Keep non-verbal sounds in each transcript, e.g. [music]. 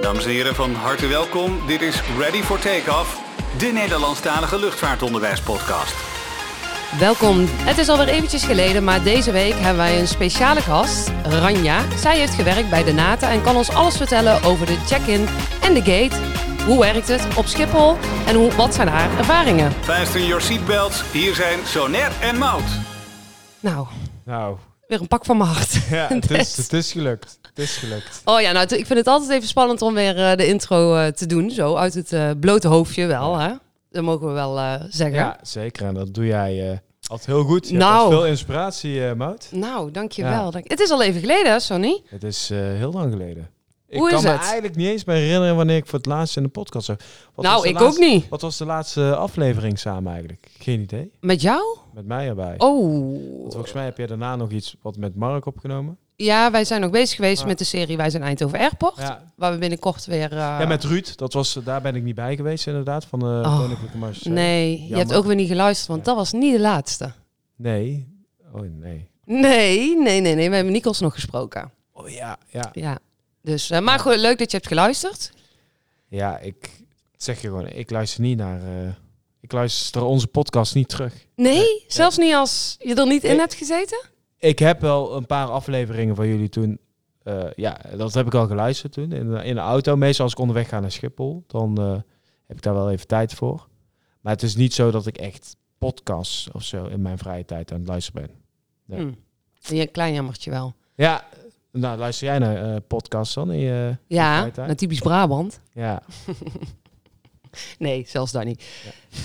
Dames en heren, van harte welkom. Dit is Ready for Takeoff, de Nederlandstalige luchtvaartonderwijspodcast. Welkom. Het is alweer eventjes geleden, maar deze week hebben wij een speciale gast, Ranja. Zij heeft gewerkt bij de NATA en kan ons alles vertellen over de check-in en de gate. Hoe werkt het op Schiphol en hoe, wat zijn haar ervaringen? Fasten your seatbelts, hier zijn Soner en Mout. Nou, Nou, [laughs] weer een pak van mijn hart. ja, het, Dus- is, het is gelukt. Het is gelukt. Oh ja, nou, t- ik vind het altijd even spannend om weer eh, de intro eh, te doen. Zo, uit het eh, blote hoofdje wel, hè? Dat mogen we wel eh, zeggen. Ja, zeker. En dat doe jij eh, altijd heel goed. Je hebt Nou. altijd veel inspiratie, eh Mout. Nou, dankjewel. Ja. Dank- Het is al even geleden, hè, Sonny? Het is eh, heel lang geleden. Ik Hoe kan is me het? eigenlijk niet eens meer herinneren wanneer ik voor het laatst in de podcast zag. Wat was nou, de ik laatste- ook niet. Wat was de laatste aflevering samen eigenlijk? Geen idee. Met jou? Met mij erbij. Want Oh. Volgens mij heb jij daarna nog iets wat met Mark opgenomen. Ja, wij zijn nog bezig geweest Ja. met de serie Wij zijn Eindhoven Airport. Ja. Waar we binnenkort weer... eh, ja, met Ruud. Dat was, eh, daar ben ik niet bij geweest inderdaad, van de Oh, Koninklijke Marseille. Nee, je hebt Jammer. ook weer niet geluisterd, want Ja. dat was niet de laatste. Nee. Oh, nee. Nee, nee, nee, nee. We hebben Nikos nog gesproken. Oh ja, ja. Ja. Dus, eh, maar goed, leuk dat je hebt geluisterd. Ja, ik zeg je gewoon, ik luister niet naar. eh, ik luister onze podcast niet terug. Nee, zelfs niet als je er niet in Nee. hebt gezeten? Ik heb wel een paar afleveringen van jullie toen. eh, ja, dat heb ik al geluisterd toen. In, de- in de auto. Meestal als ik onderweg ga naar Schiphol, dan eh, heb ik daar wel even tijd voor. Maar het is niet zo dat ik echt podcasts of zo in mijn vrije tijd aan het luisteren ben. Nee. Hm. Ja, Een klein jammertje wel. Ja, nou luister jij naar eh, podcasts dan? In je, Ja, vrije tijd? naar typisch Brabant. ja, Nee, zelfs daar niet.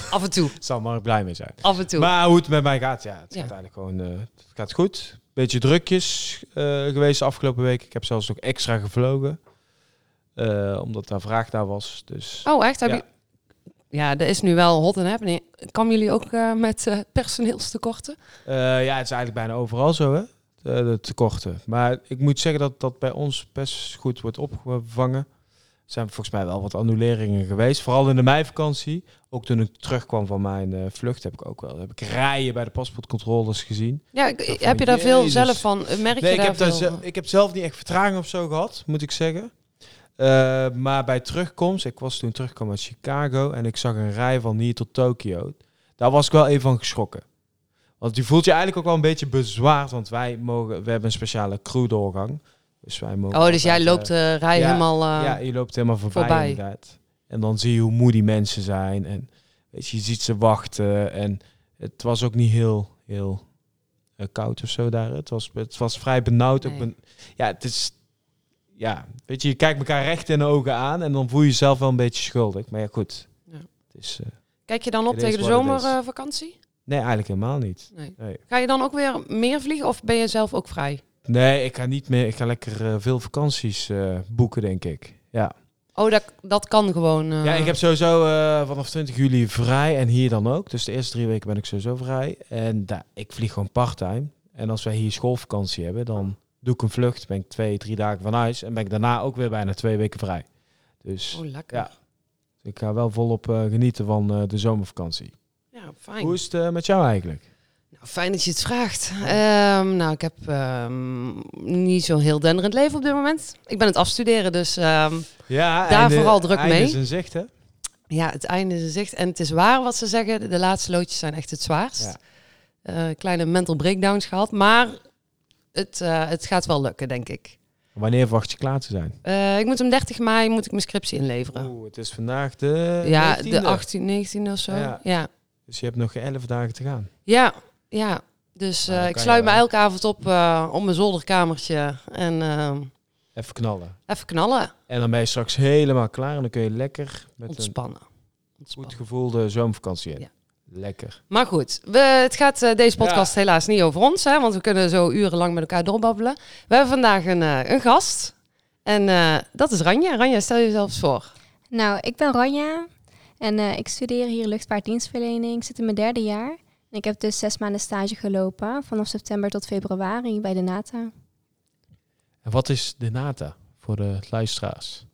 Af en toe, zal Mark blij mee zijn. af en toe. Maar hoe het met mij gaat, ja, het Ja. gaat eigenlijk gewoon eh, het gaat goed. Beetje drukjes eh, geweest de afgelopen week. Ik heb zelfs nog extra gevlogen, eh, omdat daar vraag naar was. Dus Oh, echt? Heb Ja. Je... ja, dat is nu wel hot and happening. Kwamen jullie ook eh, met eh, personeelstekorten? eh, ja, het is eigenlijk bijna overal zo, hè? eh, De, de tekorten. Maar ik moet zeggen dat dat bij ons best goed wordt opgevangen. Er zijn volgens mij wel wat annuleringen geweest. Vooral in de meivakantie. Ook toen ik terugkwam van mijn eh, vlucht heb ik ook wel. Heb ik rijen bij de paspoortcontroles gezien. Ja, ik- van, heb je daar veel Jezus. zelf van? Merk Nee, je ik daar heb, daar veel ze- ik heb zelf niet echt vertraging of zo gehad, moet ik zeggen. Eh, maar bij terugkomst, ik was toen teruggekomen uit Chicago en ik zag een rij van hier tot Tokio. Daar was ik wel even van geschrokken. Want je voelt je eigenlijk ook wel een beetje bezwaard, want wij mogen, we hebben een speciale crewdoorgang. Dus wij mogen Oh, dus jij altijd, eh, loopt de rij ja, helemaal... eh, ja, je loopt helemaal voorbij, voorbij. inderdaad. En dan zie je hoe moe die mensen zijn. En weet je, je ziet ze wachten. En het was ook niet heel, heel eh, koud of zo daar. Het was, het was vrij benauwd. Ook Nee. ben- ja, het is... Ja, weet je, je kijkt elkaar recht in de ogen aan. En dan voel je jezelf wel een beetje schuldig. Maar ja, goed. Ja. Het is, eh, Kijk je dan op It tegen is de what it is. zomervakantie? nee, eigenlijk helemaal niet. Nee. Nee. Ga je dan ook weer meer vliegen of ben je zelf ook vrij? Nee, ik ga niet meer... Ik ga lekker eh, veel vakanties eh, boeken, denk ik. Ja. Oh, dat, dat kan gewoon. eh. Ja, ik heb sowieso eh, vanaf 20 juli vrij en hier dan ook. Dus de eerste drie weken ben ik sowieso vrij. En daar ik vlieg gewoon parttime. En als wij hier schoolvakantie hebben, dan doe ik een vlucht. Ben ik twee, drie dagen van huis. En ben ik daarna ook weer bijna twee weken vrij. Dus Oh, lekker. Ja, Ja. ik ga wel volop eh, genieten van eh, de zomervakantie. fijn. Hoe is het eh, met jou eigenlijk? Nou, fijn dat je het vraagt. Ehm, nou, ik heb ehm, niet zo'n heel denderend leven op dit moment. Ik ben het afstuderen, dus ehm, Ja, Daar einde- vooral druk einde mee. is is in zicht, hè? ja, het einde is in zicht. En het is waar wat ze zeggen, de laatste loodjes zijn echt het zwaarst. Ja. Eh, kleine mental breakdowns gehad, maar het, eh, het gaat wel lukken, denk ik. Wanneer verwacht je klaar te zijn? Eh, ik moet om 30 mei moet ik mijn scriptie inleveren. Oeh, het is vandaag de ja, 19e. de 18, 19 of zo. Eh, Ja. ja. Dus je hebt nog 11 dagen te gaan. Ja, ja. Dus Nou, eh, dan ik kan sluit je me wel. elke avond op eh, op mijn zolderkamertje en ehm, Even knallen. even knallen. En dan ben je straks helemaal klaar en dan kun je lekker met een Ontspannen. goed Ontspannen. gevoel de zomervakantie in. Ja. Lekker. Maar goed, we, het gaat eh, deze Ja. podcast helaas niet over ons, hè, want we kunnen zo urenlang met elkaar doorbabbelen. We hebben vandaag een, eh, een gast en eh, dat is Ranja. Ranja, stel jezelf eens voor. Nou, ik ben Ranja en eh, ik studeer hier luchtvaartdienstverlening. Ik zit in mijn derde jaar. En ik heb dus zes maanden stage gelopen, vanaf september tot februari bij de NATA. En wat is de NATA voor de luisteraars?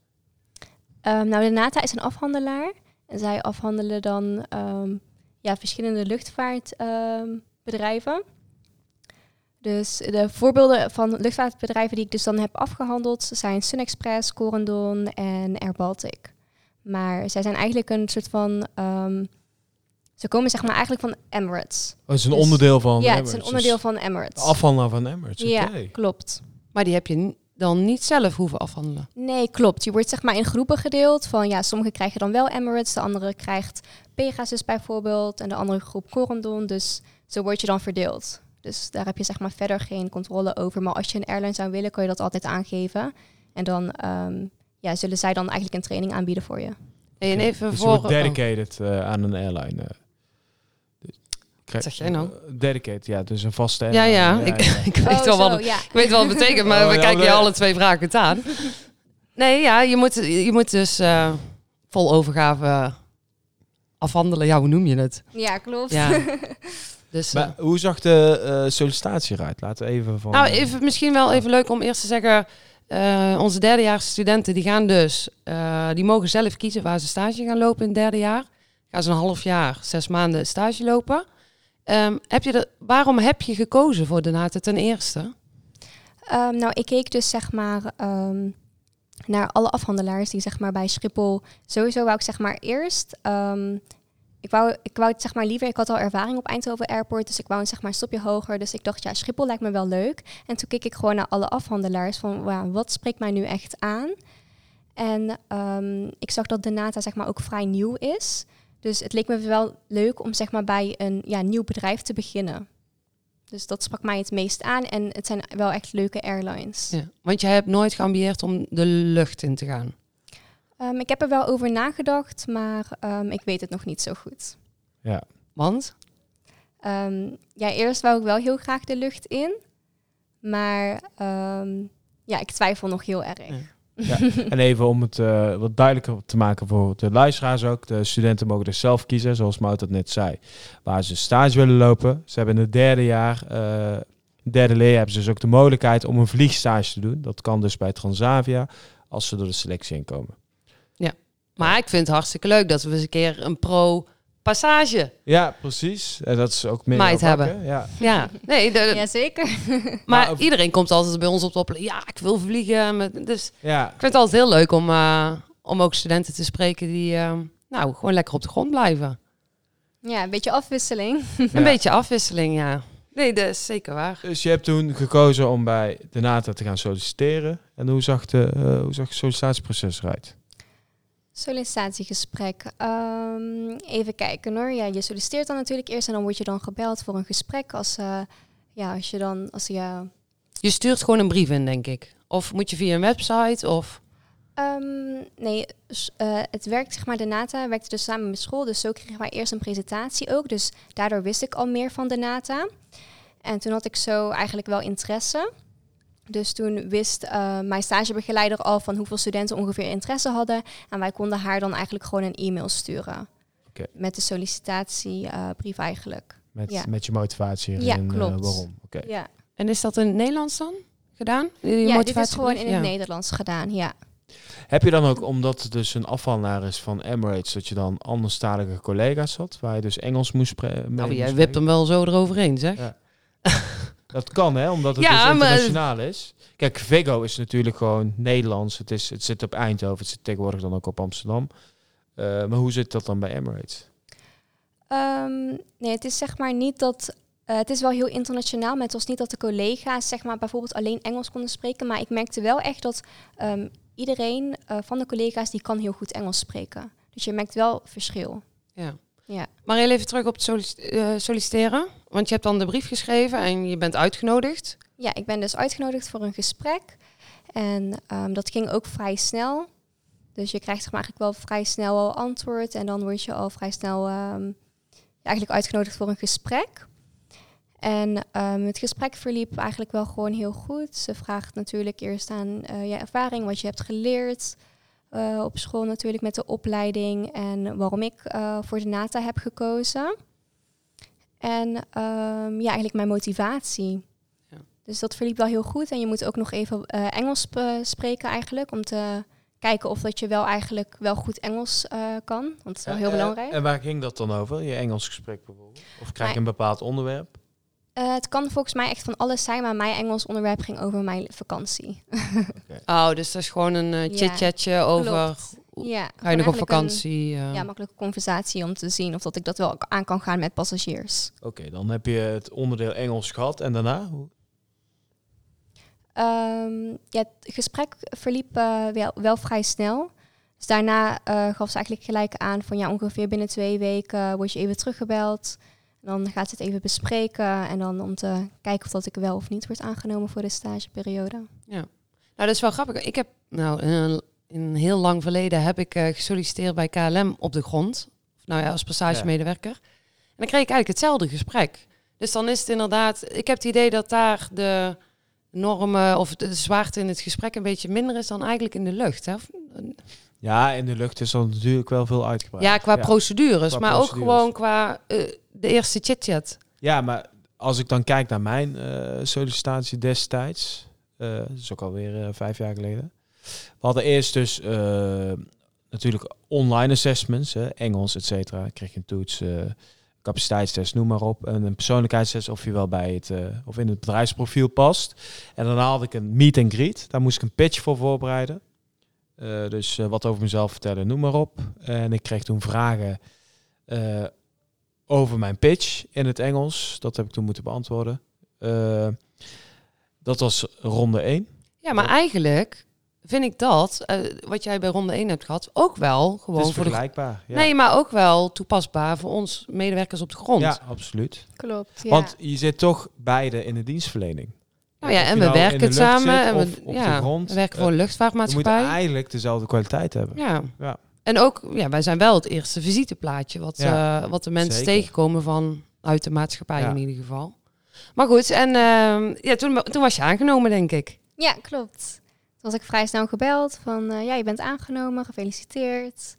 Ehm, nou, de NATA is een afhandelaar. En zij afhandelen dan ehm, ja, verschillende luchtvaartbedrijven. Dus de voorbeelden van luchtvaartbedrijven die ik dus dan heb afgehandeld zijn SunExpress, Corendon en Air Baltic. Maar zij zijn eigenlijk een soort van... ehm, ze komen zeg maar eigenlijk van Emirates. Oh, het is een Dus- onderdeel van ja, het Emirates. is een Dus onderdeel van Emirates. de afhandelaar nou van Emirates, oké. ja, klopt. Maar die heb je n- dan niet zelf hoeven afhandelen. Nee, klopt. Je wordt zeg maar in groepen gedeeld. Van ja, sommigen krijgen dan wel Emirates, de andere krijgt Pegasus bijvoorbeeld en de andere groep Corendon. Dus zo word je dan verdeeld. Dus daar heb je zeg maar verder geen controle over. Maar als je een airline zou willen, kan je dat altijd aangeven. En dan ehm, ja, zullen zij dan eigenlijk een training aanbieden voor je. Hey, en even Dus je voor... oh. wordt dedicated eh, aan een airline. eh. Dus krijg- zeg jij nou? eh, Dedicated, ja, dus een vaste ja, airline. ja, ik, [laughs] Oh, ik weet wel wat het Oh, ja. Ik weet wel wat het betekent, maar Oh, we ja, kijken je nee. alle twee vragen aan. Nee, ja, je moet, je moet dus eh, vol overgave afhandelen. Ja, hoe noem je het? ja, klopt. Ja. Dus, eh, Maar hoe zag de eh, sollicitatie eruit? Laten we even van... nou, even, misschien wel even leuk om eerst te zeggen... eh, onze derdejaars studenten die gaan dus... eh, die mogen zelf kiezen waar ze stage gaan lopen in het derde jaar. Gaan ze een half jaar, zes maanden stage lopen. Ehm, heb je er, waarom heb je gekozen voor de NATO ten eerste? [laughs] Ehm, nou, ik keek dus zeg maar ehm, naar alle afhandelaars die zeg maar bij Schiphol. Sowieso wou ik zeg maar eerst. ehm, ik wou, ik wou het zeg maar liever, ik had al ervaring op Eindhoven Airport, dus ik wou een zeg maar stopje hoger. Dus ik dacht, ja, Schiphol lijkt me wel leuk. En toen keek ik gewoon naar alle afhandelaars van, wauw, wat spreekt mij nu echt aan? En ehm, ik zag dat de NATA zeg maar ook vrij nieuw is. Dus het leek me wel leuk om zeg maar bij een ja, nieuw bedrijf te beginnen. Dus dat sprak mij het meest aan. En het zijn wel echt leuke airlines. Ja, want jij hebt nooit geambieerd om de lucht in te gaan. Ehm, ik heb er wel over nagedacht, maar ehm, ik weet het nog niet zo goed. Ja. Want? Ehm, ja, eerst wou ik wel heel graag de lucht in. Maar ehm, ja, ik twijfel nog heel erg. Ja. [laughs] En even om het eh, wat duidelijker te maken voor de luisteraars ook. De studenten mogen dus zelf kiezen, zoals Mout dat net zei. Waar ze stage willen lopen. Ze hebben in het derde jaar, eh, derde leer, hebben ze dus ook de mogelijkheid om een vliegstage te doen. Dat kan dus bij Transavia, als ze door de selectie heen komen. Maar ik vind het hartstikke leuk dat we eens een keer een pro-passage. Ja, precies. En dat is ook meer Meid jouw vak, hebben. hè? Ja. Ja, nee, de- Jazeker. maar Maar- iedereen komt altijd bij ons op de opleiding. Ja, ik wil vliegen. Met, dus ja. ik vind het altijd heel leuk om, eh, om ook studenten te spreken die eh, nou, gewoon lekker op de grond [laughs] blijven. Ja, een beetje [laughs] afwisseling. Een Ja. beetje afwisseling, ja. Nee, dat is zeker waar. Dus je hebt toen gekozen om bij de NATA te gaan solliciteren. En hoe zag, de, eh, hoe zag het sollicitatieproces eruit? Sollicitatiegesprek. Ehm, even kijken hoor. Ja, je solliciteert dan natuurlijk eerst en dan word je dan gebeld voor een gesprek. Als, eh, ja, als je dan, als je, Je stuurt gewoon een brief in, denk ik. Of moet je via een website of... Ehm, nee, s- eh, het werkt, zeg maar, de NATA werkte dus samen met school. Dus zo kregen wij eerst een presentatie ook. Dus daardoor wist ik al meer van de NATA. En toen had ik zo eigenlijk wel interesse. Dus toen wist eh, mijn stagebegeleider al van hoeveel studenten ongeveer interesse hadden. En wij konden haar dan eigenlijk gewoon een e-mail sturen. Oké. Met de sollicitatiebrief eigenlijk. Met, Ja. met je motivatie Ja, en klopt. waarom? Oké. Ja, En is dat in het Nederlands dan gedaan? Die ja dit is motivatiebrief? gewoon in het Ja. Nederlands gedaan, ja. Heb je dan ook, omdat het dus een afhandelaar is van Emirates, dat je dan anderstalige collega's had, waar je dus Engels moest spre- mee Nou, moest jij spreken? wipt hem wel zo eroverheen, zeg. Ja. Dat kan, hè, omdat het Ja, dus maar- internationaal is. Kijk, Vego is natuurlijk gewoon Nederlands. Het, is, het zit op Eindhoven, het zit tegenwoordig dan ook op Amsterdam. Eh, maar hoe zit dat dan bij Emirates? Ehm, nee, het is zeg maar niet dat. eh, het is wel heel internationaal, maar het was niet dat de collega's zeg maar, bijvoorbeeld alleen Engels konden spreken. Maar ik merkte wel echt dat ehm, iedereen eh, van de collega's die kan heel goed Engels spreken. Dus je merkt wel verschil. Ja. Ja. Maar heel even terug op het sollic- eh, solliciteren. Want je hebt dan de brief geschreven en je bent uitgenodigd. Ja, ik ben dus uitgenodigd voor een gesprek. En ehm, dat ging ook vrij snel. Dus je krijgt zeg maar, eigenlijk wel vrij snel al antwoord. En dan word je al vrij snel ehm, eigenlijk uitgenodigd voor een gesprek. En ehm, het gesprek verliep eigenlijk wel gewoon heel goed. Ze vraagt natuurlijk eerst aan eh, je ervaring, wat je hebt geleerd eh, op school natuurlijk met de opleiding. En waarom ik eh, voor de NATA heb gekozen. En ehm, ja, eigenlijk mijn motivatie. Dus dat verliep wel heel goed. En je moet ook nog even eh, Engels sp- eh, spreken eigenlijk. Om te kijken of dat je wel eigenlijk wel goed Engels eh, kan. Want dat is wel heel Eh, belangrijk. En waar ging dat dan over? Je Engels gesprek bijvoorbeeld? Of krijg je Maar- een bepaald onderwerp? Eh, Eh, het kan volgens mij echt van alles zijn, maar mijn Engels onderwerp ging over mijn vakantie. Oh, dus dat is gewoon een eh, Ja, chit-chatje over... Klopt. Ja, Ga je nog op vakantie? vakantie? eh, ja, makkelijke conversatie om te zien of dat ik dat wel aan kan gaan met passagiers. Oké, dan heb je het onderdeel Engels gehad en daarna? Hoe- Ehm, ja, het gesprek verliep eh, wel, wel vrij snel. Dus daarna eh, gaf ze eigenlijk gelijk aan van ja, ongeveer binnen twee weken eh, word je even teruggebeld. En dan gaat ze het even bespreken en dan om te kijken of dat ik wel of niet word aangenomen voor de stageperiode. Nou, dat is wel grappig. Ik heb, nou, in een, in een heel lang verleden heb ik eh, gesolliciteerd bij KLM op de grond. Of Nou ja, als passagemedewerker. En dan kreeg ik eigenlijk hetzelfde gesprek. Dus dan is het inderdaad, ik heb het idee dat daar de normen of de zwaarte in het gesprek een beetje minder is dan eigenlijk in de lucht. Hè? Of- Ja, in de lucht is dan natuurlijk wel veel uitgebreid. ja, qua procedures, Qua maar ook procedures. gewoon qua eh, de eerste chit-chat. Ja, maar als ik dan kijk naar mijn eh, sollicitatie destijds, eh, dat is ook alweer eh, vijf jaar geleden. We hadden eerst dus eh, natuurlijk online assessments, hè, Engels, et cetera. Dan Kreeg je een toets, eh, capaciteitstest, noem maar op. En een persoonlijkheidstest of je wel bij het, eh, of in het bedrijfsprofiel past. En daarna had ik een meet and greet. Daar moest ik een pitch voor voorbereiden. Eh, dus eh, wat over mezelf vertellen, noem maar op. En ik kreeg toen vragen eh, over mijn pitch in het Engels. Dat heb ik toen moeten beantwoorden. Eh, dat was ronde 1. Ja, maar Ja. eigenlijk vind ik dat, eh, wat jij bij ronde 1 hebt gehad, ook wel Het gewoon is voor de vergelijkbaar. Ja. Nee, maar ook wel toepasbaar voor ons medewerkers op de grond. ja, absoluut. Klopt. Want je zit toch beide in de dienstverlening. nou ja, Of je en we nou in de werken lucht samen. zit En of we, op ja, de grond. we werken eh, voor een we moeten luchtvaartmaatschappij. eigenlijk dezelfde kwaliteit hebben. Ja. Ja. En ook, ja, wij zijn wel het eerste visiteplaatje wat, Ja, eh, wat de mensen zeker. tegenkomen van uit de maatschappij Ja. in ieder geval. Maar goed, en ehm, ja, toen, toen was je aangenomen, denk ik. Ja, klopt. Toen was ik vrij snel gebeld van eh, ja, je bent aangenomen, gefeliciteerd.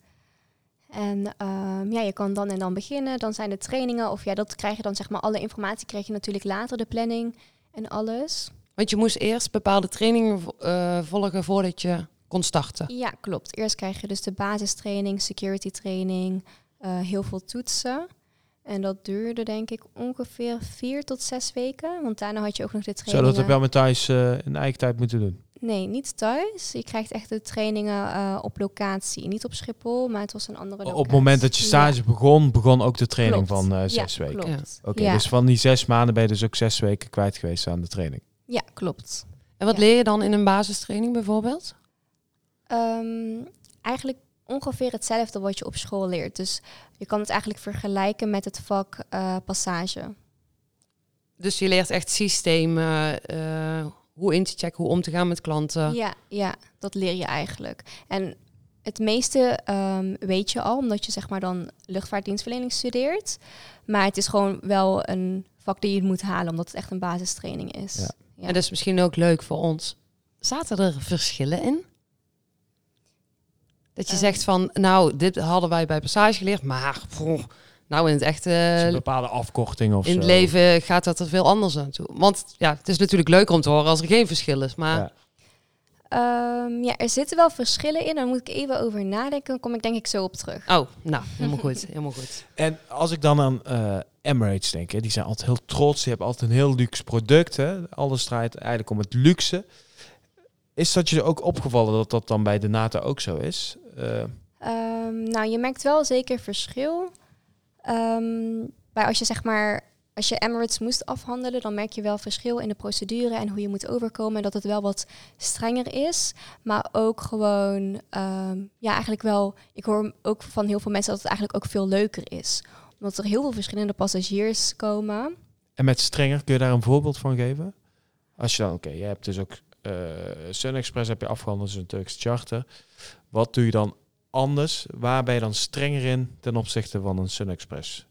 En ehm, ja, je kan dan en dan beginnen. Dan zijn de trainingen. Of ja, dat krijg je dan zeg maar. Alle informatie krijg je natuurlijk later, de planning en alles. Want je moest eerst bepaalde trainingen vo- eh, volgen voordat je kon starten. Ja, klopt. Eerst krijg je dus de basistraining, security training, eh, heel veel toetsen. En dat duurde denk ik ongeveer vier tot zes weken. Want daarna had je ook nog de Zou trainingen. dat ook wel met thuis eh, in eigen tijd moeten doen? Nee, niet thuis. Je krijgt echt de trainingen eh, op locatie. Niet op Schiphol, maar het was een andere locatie. Op het moment dat je stage begon, begon ook de training Klopt. van eh, Ja, zes weken. Klopt. Ja. Ja. Oké, ja. dus van die zes maanden ben je dus ook zes weken kwijt geweest aan de training. Eh, klopt. En wat Ja. leer je dan in een basistraining bijvoorbeeld? Ehm, eigenlijk ongeveer hetzelfde wat je op school leert. Dus je kan het eigenlijk vergelijken met het vak eh, passage. Dus je leert echt systemen, eh, hoe in te checken, hoe om te gaan met klanten. Ja, ja, dat leer je eigenlijk. En het meeste ehm, weet je al, omdat je zeg maar dan luchtvaartdienstverlening studeert. Maar het is gewoon wel een vak die je moet halen, omdat het echt een basistraining is. Ja. Ja. En dat is misschien ook leuk voor ons. Zaten er verschillen in? Dat je Ehm. zegt van, nou, dit hadden wij bij passage geleerd, maar pff, nou in het echte Dus een bepaalde afkorting of in het zo. leven gaat dat er veel anders aan toe. Want ja, het is natuurlijk leuk om te horen als er geen verschil is, maar Ja. Ehm, ja, er zitten wel verschillen in. Daar moet ik even over nadenken. Dan kom ik denk ik zo op terug. oh, nou, helemaal goed, [laughs] helemaal goed. En als ik dan aan eh, Emirates denk, hè, die zijn altijd heel trots, die hebben altijd een heel luxe product. Hè. Alles draait eigenlijk om het luxe. Is dat je ook opgevallen dat dat dan bij de NATO ook zo is? Eh, Ehm, nou, je merkt wel zeker verschil. Ehm, bij als je zeg maar, als je Emirates moest afhandelen, dan merk je wel verschil in de procedure en hoe je moet overkomen. En dat het wel wat strenger is. Maar ook gewoon, ehm, ja, eigenlijk wel. Ik hoor ook van heel veel mensen dat het eigenlijk ook veel leuker is. Omdat er heel veel verschillende passagiers komen. en met strenger, kun je daar een voorbeeld van geven? Als je dan, oké, je hebt dus ook eh, Sun Express heb je afgehandeld, dus een Turks charter. Wat doe je dan anders? Waar ben je dan strenger in ten opzichte van een Sun Express?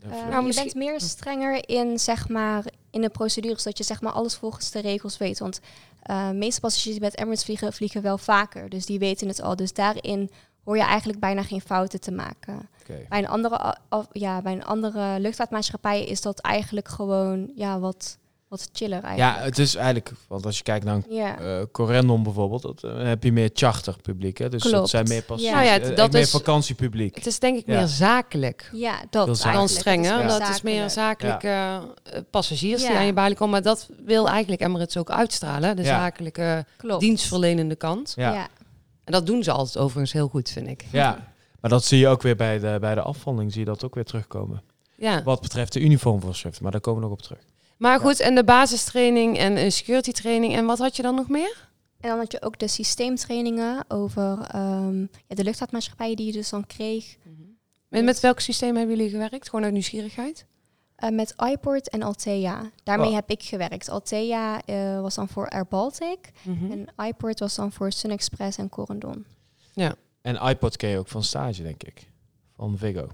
Een Eh, vlucht? Nou, je misschien- bent meer strenger in, zeg maar, in de procedures, dat je zeg maar, alles volgens de regels weet. Want eh meeste passagiers die met Emirates vliegen, vliegen wel vaker. Dus die weten het al. Dus daarin hoor je eigenlijk bijna geen fouten te maken. Oké. Bij een andere, a- af- ja, bij een andere luchtvaartmaatschappij is dat eigenlijk gewoon ja, wat Wat chiller Ja, eigenlijk. het is eigenlijk, want als je kijkt naar een Ja. eh, Corendon bijvoorbeeld, dat, eh, heb je meer charterpubliek. Hè? Dus dat Klopt. zijn meer, pas, Ja. Nou ja, eh, dat meer is- vakantiepubliek. Het is denk ik Ja. meer zakelijk Ja, dat Heel zakelijk. dan eigenlijk. streng. Het hè? meer Dat is meer zakelijk. zakelijke eh, passagiers die Ja. aan je balie komen. Maar dat wil eigenlijk Emirates ook uitstralen. De Ja. zakelijke Klopt. dienstverlenende kant. Ja. Ja. Ja. En dat doen ze altijd overigens heel goed, vind ik. maar dat zie je ook weer bij de, bij de afhandeling, zie je dat ook weer terugkomen. Ja. Wat betreft de uniformvoorschrift, maar daar komen we nog op terug. Maar goed, en de basistraining en een security training. En wat had je dan nog meer? En dan had je ook de systeemtrainingen over ehm, ja, de luchtvaartmaatschappij die je dus dan kreeg. Met, met welk systeem hebben jullie gewerkt? Gewoon uit nieuwsgierigheid? Eh, met iPort en Althea. Daarmee Oh. heb ik gewerkt. Althea eh, was dan voor Air Baltic. Mhm. En iPort was dan voor SunExpress en Corendon. En iPod ken je ook van stage, denk ik. Van Vigo.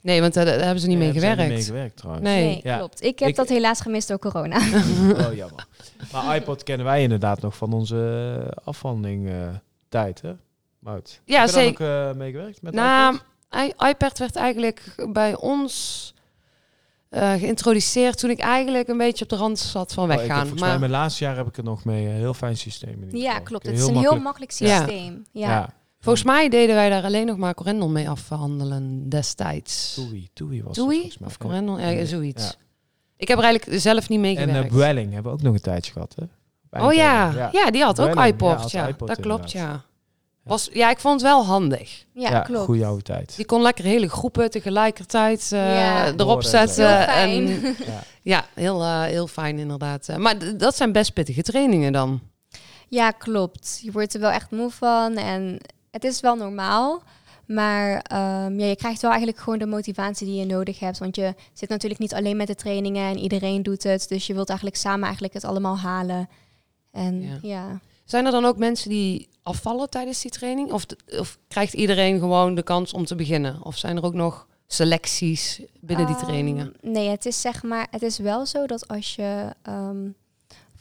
Nee, want daar, daar hebben ze niet mee Daar hebben gewerkt. ze niet mee gewerkt trouwens. Nee. Ja. klopt. Ik heb Ik- dat helaas gemist door corona. [laughs] Oh, jammer. Maar iPod kennen wij inderdaad nog van onze afhandeling eh, tijd, hè? Mout. Ja, heb je daar zeker. ook eh, mee gewerkt met Nou, iPod? i- iPad werd eigenlijk bij ons eh, geïntroduceerd toen ik eigenlijk een beetje op de rand zat van Oh, ik heb weggaan. volgens mij maar mijn laatste jaar heb ik er nog mee. eh, Heel fijn systeem. in ieder [laughs] ja, geval. klopt. Kun Het je is een heel makkelijk Ja. systeem. Ja. volgens mij deden wij daar alleen nog maar Corendon mee afhandelen destijds. Toei, Toei was het Toei? volgens mij. Of Corendon? Ja, Ja. zoiets. Ja. Ik heb er eigenlijk zelf niet mee En gewerkt. eh Buelling hebben we ook nog een tijdje gehad, hè? oh ja. ja, Ja. die had ook Buelling, ja, iPod. had Ja, iPod dat klopt, ja. Ja. Was, ja, ik vond het wel handig. Ja, klopt. goede oude tijd. Die kon lekker hele groepen tegelijkertijd eh, Ja. erop Horen zo. zetten. Heel fijn. En [laughs] Ja. Ja, heel, eh, heel fijn inderdaad. Eh, Maar d- dat zijn best pittige trainingen dan. Ja, klopt. Je wordt er wel echt moe van en het is wel normaal. Maar ehm, ja, je krijgt wel eigenlijk gewoon de motivatie die je nodig hebt. Want je zit natuurlijk niet alleen met de trainingen en iedereen doet het. Dus je wilt eigenlijk samen eigenlijk het allemaal halen. En Ja. ja, Zijn er dan ook mensen die afvallen tijdens die training? Of, d- of krijgt iedereen gewoon de kans om te beginnen? Of zijn er ook nog selecties binnen die Ehm, trainingen? nee, het is zeg maar, het is wel zo dat als je ehm,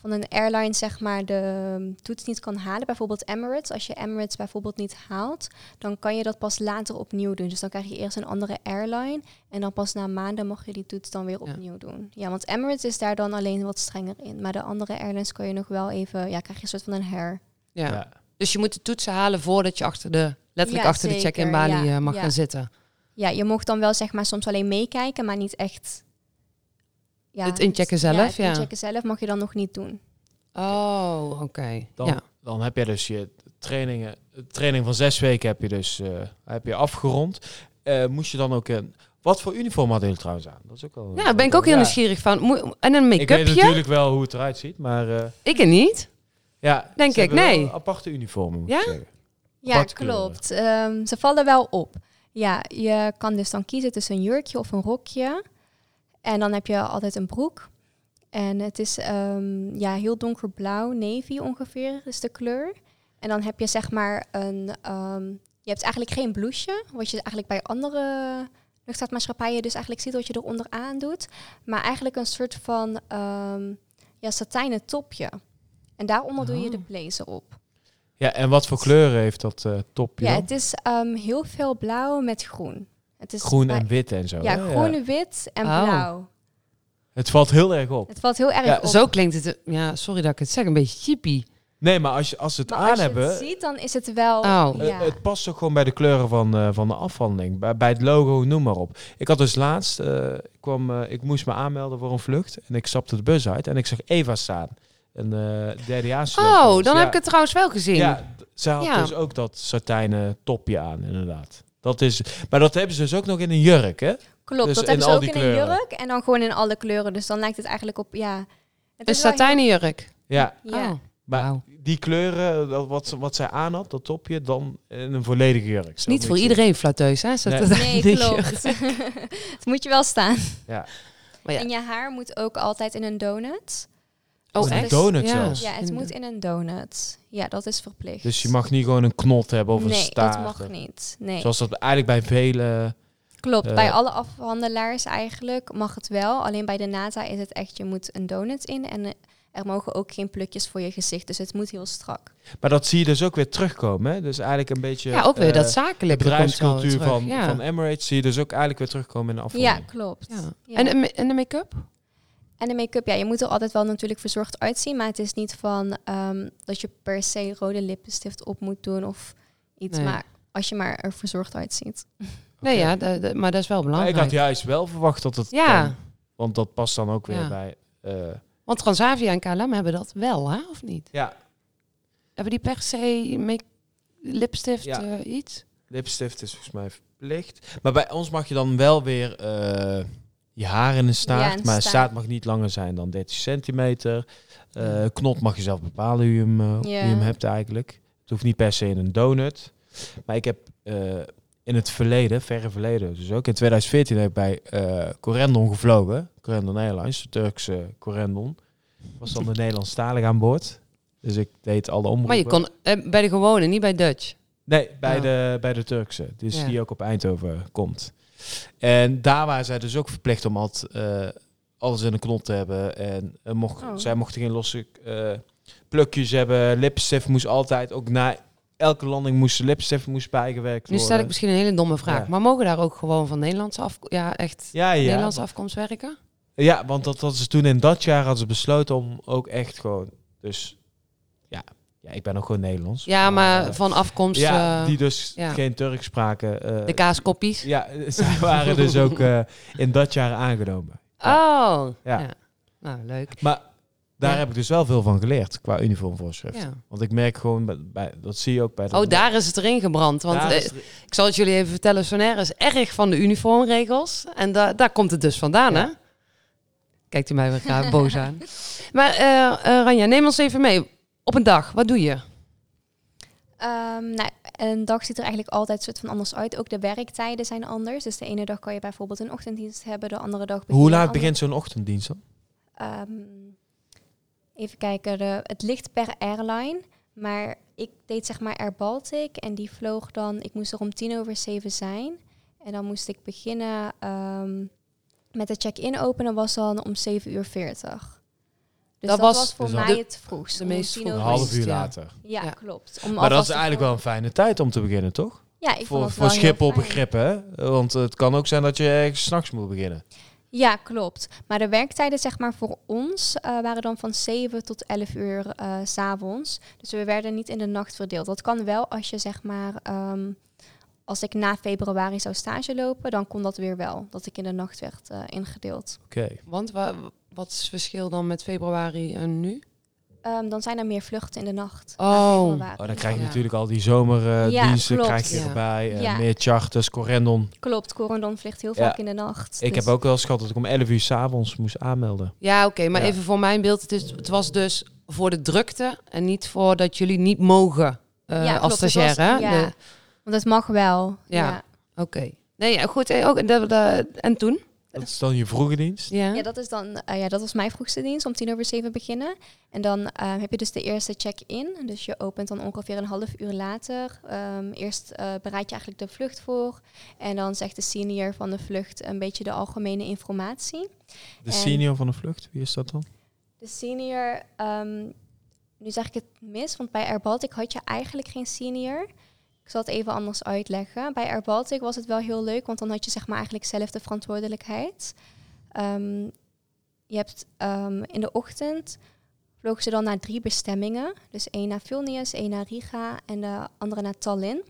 van een airline zeg maar de ehm, toets niet kan halen, bijvoorbeeld Emirates. Als je Emirates bijvoorbeeld niet haalt, dan kan je dat pas later opnieuw doen. Dus dan krijg je eerst een andere airline en dan pas na maanden mag je die toets dan weer Ja. opnieuw doen. Ja, want Emirates is daar dan alleen wat strenger in, maar de andere airlines kan je nog wel even, ja, krijg je een soort van een her. Ja. Ja. Dus je moet de toetsen halen voordat je achter de, letterlijk Ja, achter de zeker, check-in balie ja, eh, mag ja. gaan zitten. Ja, je mocht dan wel zeg maar soms alleen meekijken, maar niet echt. Ja, Het inchecken zelf, het ja. inchecken zelf mag je dan nog niet doen. Oh, oké. Dan, Ja. dan heb je dus je trainingen, training van zes weken heb je dus eh, heb je afgerond. Eh, moest je dan ook een... Wat voor uniform hadden jullie trouwens aan? Dat is ook wel... ja, daar ben ik ook heel Ja. nieuwsgierig van. Moe- En een Ik weet make-upje? Ik, natuurlijk wel hoe het eruit ziet, maar... eh, er niet. ja, Denk ze ik, hebben wel nee. aparte uniformen, moet Ja? ik zeggen. Ja, Aparte kleuren. klopt. Ehm, ze vallen wel op. Ja, je kan dus dan kiezen tussen een jurkje of een rokje. En dan heb je altijd een broek. En het is ehm, ja, heel donkerblauw, navy ongeveer is de kleur. En dan heb je zeg maar een... ehm, je hebt eigenlijk geen blouseje, wat je eigenlijk bij andere luchtvaartmaatschappijen dus eigenlijk ziet wat je eronder aan doet. Maar eigenlijk een soort van ehm, ja, satijnen topje. En daaronder doe je de blazer op. Ja, en wat voor kleuren heeft dat eh, topje Ja, dan? het is ehm, heel veel blauw met groen. Het Dus is Groen bij- en wit en zo. Ja, hè? groen, wit en Oh. blauw. Het valt heel erg op. Het valt heel erg Ja, op. Zo klinkt het, eh, ja, sorry dat ik het zeg, een beetje chippie. Nee, maar als, je, als ze het Maar aan als je hebben, het ziet, dan is het wel... Oh. eh, Ja. het past ook gewoon bij de kleuren van, eh, van de afhandeling. Bij, bij het logo, noem maar op. Ik had dus laatst, eh, ik, kwam, eh, ik moest me aanmelden voor een vlucht en ik stapte de bus uit en ik zag Eva staan. Een eh derdejaars. Oh, dan heb ik het trouwens wel gezien. Ja, d- zij had Ja. dus ook dat satijnen topje aan, inderdaad. Dat is, maar dat hebben ze dus ook nog in een jurk, hè? Klopt, dus dat in hebben ze al ook die in kleuren. een jurk en dan gewoon in alle kleuren. Dus dan lijkt het eigenlijk op, ja... Het Een is wel satijnenjurk. Ja, heel- Ja, Oh, maar wauw. die kleuren, eh, dat, wat, ze- wat zij aan had, dat topje, dan in een volledige jurk. Zo Niet voor moet je het zien. iedereen flatteus, hè? Nee. Satijn- [laughs] nee, klopt. [laughs] het moet je wel staan. Ja. Maar ja. En je haar moet ook altijd in een donut. Oh, Een echt? donut zelfs. Ja, het moet in een donut. Ja, dat is verplicht. Dus je mag niet gewoon een knot hebben of een Nee, staart. dat mag of- niet. Nee. Zoals dat eigenlijk bij vele... Klopt, Eh, bij alle afhandelaars eigenlijk mag het wel. Alleen bij de NASA is het echt, je moet een donut in en eh, er mogen ook geen plukjes voor je gezicht. Dus het moet heel strak. Maar dat zie je dus ook weer terugkomen. Hè? Dus eigenlijk een beetje... Ja, ook weer eh, dat zakelijke bedrijfscultuur komt wel van, terug. ja. van Emirates zie je dus ook eigenlijk weer terugkomen in de Ja, afhandeling. klopt. Ja. Ja. En, de ma- en de make-up? En de make-up, ja, je moet er altijd wel natuurlijk verzorgd uitzien. Maar het is niet van ehm, dat je per se rode lippenstift op moet doen of iets. Nee. Maar als je maar er verzorgd uitziet. Nee, ja, da- da- maar dat is wel Maar belangrijk. ik had juist wel verwacht dat het Ja. kan, want dat past dan ook weer Ja. bij. eh, Want Transavia en KLM hebben dat wel, hè? Of niet? ja, Hebben die per se make lipstift Ja. eh, iets? lipstift is volgens mij verplicht. Maar bij ons mag je dan wel weer eh, je haar in een staart. een maar een staart. staart mag niet langer zijn dan 30 centimeter. Eh, knop mag je zelf bepalen hoe je hem, eh, hoe je Ja. hem hebt eigenlijk. Het hoeft niet per se in een donut. Maar ik heb eh, in het verleden, verre verleden, dus ook in 2014 heb ik bij eh Corendon gevlogen. Corendon Airlines, de Turkse Corendon. Was dan de Nederlandstalige aan boord. Dus ik deed alle omroepen. Maar je kon eh, bij de gewone, niet bij Dutch. Nee, bij, Oh. de, bij de Turkse. Dus Ja. die ook op Eindhoven komt. En daar waren zij dus ook verplicht om altijd, eh, alles in een knop te hebben. En eh, mocht, Oh. zij mochten geen losse eh, plukjes hebben. Lipstift moest altijd, ook na elke landing moest lipstift moest bijgewerkt Nu worden. stel ik misschien een hele domme vraag. Ja. Maar mogen daar ook gewoon van Nederlandse af, ja, echt ja, ja. Nederlandse afkomst werken? ja, want dat hadden ze toen in dat jaar hadden ze besloten om ook echt gewoon... Dus ja, ja ik ben ook gewoon Nederlands. Ja, eh, maar van afkomst ja, eh, die dus ja. geen Turks spraken. eh, de kaaskoppies. Ja, [laughs] zij waren dus ook eh, in dat jaar aangenomen. Oh, Ja. ja. Nou, leuk. Maar daar Ja. heb ik dus wel veel van geleerd qua uniformvoorschrift. Ja. Want ik merk gewoon, bij, bij- dat zie je ook bij de... Oh, daar is het erin gebrand. Want daar eh, is- ik zal het jullie even vertellen, Sonair is erg van de uniformregels. En da daar komt het dus vandaan, Ja. hè? Kijkt u mij weer graag boos [laughs] aan. Maar eh, eh, Ranja, neem ons even mee. Op een dag, wat doe je? Ehm, nou, een dag ziet er eigenlijk altijd soort van anders uit. Ook de werktijden zijn anders. Dus de ene dag kan je bijvoorbeeld een ochtenddienst hebben, de andere dag. begin je Hoe een laat ander- begint zo'n ochtenddienst dan? Ehm, even kijken, de- het ligt per airline. Maar ik deed zeg maar Air Baltic en die vloog dan... Ik moest er om tien over zeven zijn. En dan moest ik beginnen ehm, met de check-in openen was dan om zeven uur veertig. Dus Dat dat, was was, voor dus dat- mij de- het vroegst. de om meest tien vroeg. Een over Een half half Ochtenddienst, uur uur ja. later. Ja, Ja. klopt. Maar dat is eigenlijk wel een fijne tijd om te beginnen, toch? Ja, ik vond voor het voor wel heel Schiphol fijn. begrippen, hè? Want het kan ook zijn dat je ergens 's nachts moet beginnen. Ja, klopt. Maar de werktijden zeg maar voor ons eh, waren dan van 7 tot 11 uur eh, s s'avonds. Dus we werden niet in de nacht verdeeld. Dat kan wel als je zeg maar, ehm, als ik na februari zou stage lopen, dan kon dat weer wel. Dat ik in de nacht werd eh, ingedeeld. Oké. Want wa- wat is het verschil dan met februari en nu? Ehm, dan zijn er meer vluchten in de nacht. Oh, Oh, dan krijg je Ja. natuurlijk al die zomerdiensten Ja, klopt. krijg je Ja. erbij. eh, Ja. Meer charters, correndon. Klopt, Corendon vliegt heel Ja. vaak in de nacht. Ik Dus- heb ook wel eens gehad dat ik om 11 uur s'avonds moest aanmelden. Ja, oké, maar Ja. even voor mijn beeld. Het, is, het was dus voor de drukte en niet voor dat jullie niet mogen eh, Ja, als klopt, het stagiair. was- hè? Ja, De- want het mag wel. Ja. ja. Oké. Nee, ja, goed. eh, Ook, de, de- en toen? Dat is dan je vroege dienst. Ja. Ja, dat is dan, eh, ja, dat was mijn vroegste dienst, om tien over zeven beginnen. En dan eh, heb je dus de eerste check-in. Dus je opent dan ongeveer een half uur later. Ehm, eerst eh, bereid je eigenlijk de vlucht voor. En dan zegt de senior van de vlucht een beetje de algemene informatie. De En- senior van de vlucht, wie is dat dan? De senior, ehm, nu zeg ik het mis, want bij Air Baltic had je eigenlijk geen senior. Ik zal het even anders uitleggen. Bij Air Baltic was het wel heel leuk, want dan had je zeg maar eigenlijk zelf de verantwoordelijkheid. Ehm, je hebt ehm, in de ochtend vlogen ze dan naar drie bestemmingen. Dus één naar Vilnius, één naar Riga en de andere naar Tallinn.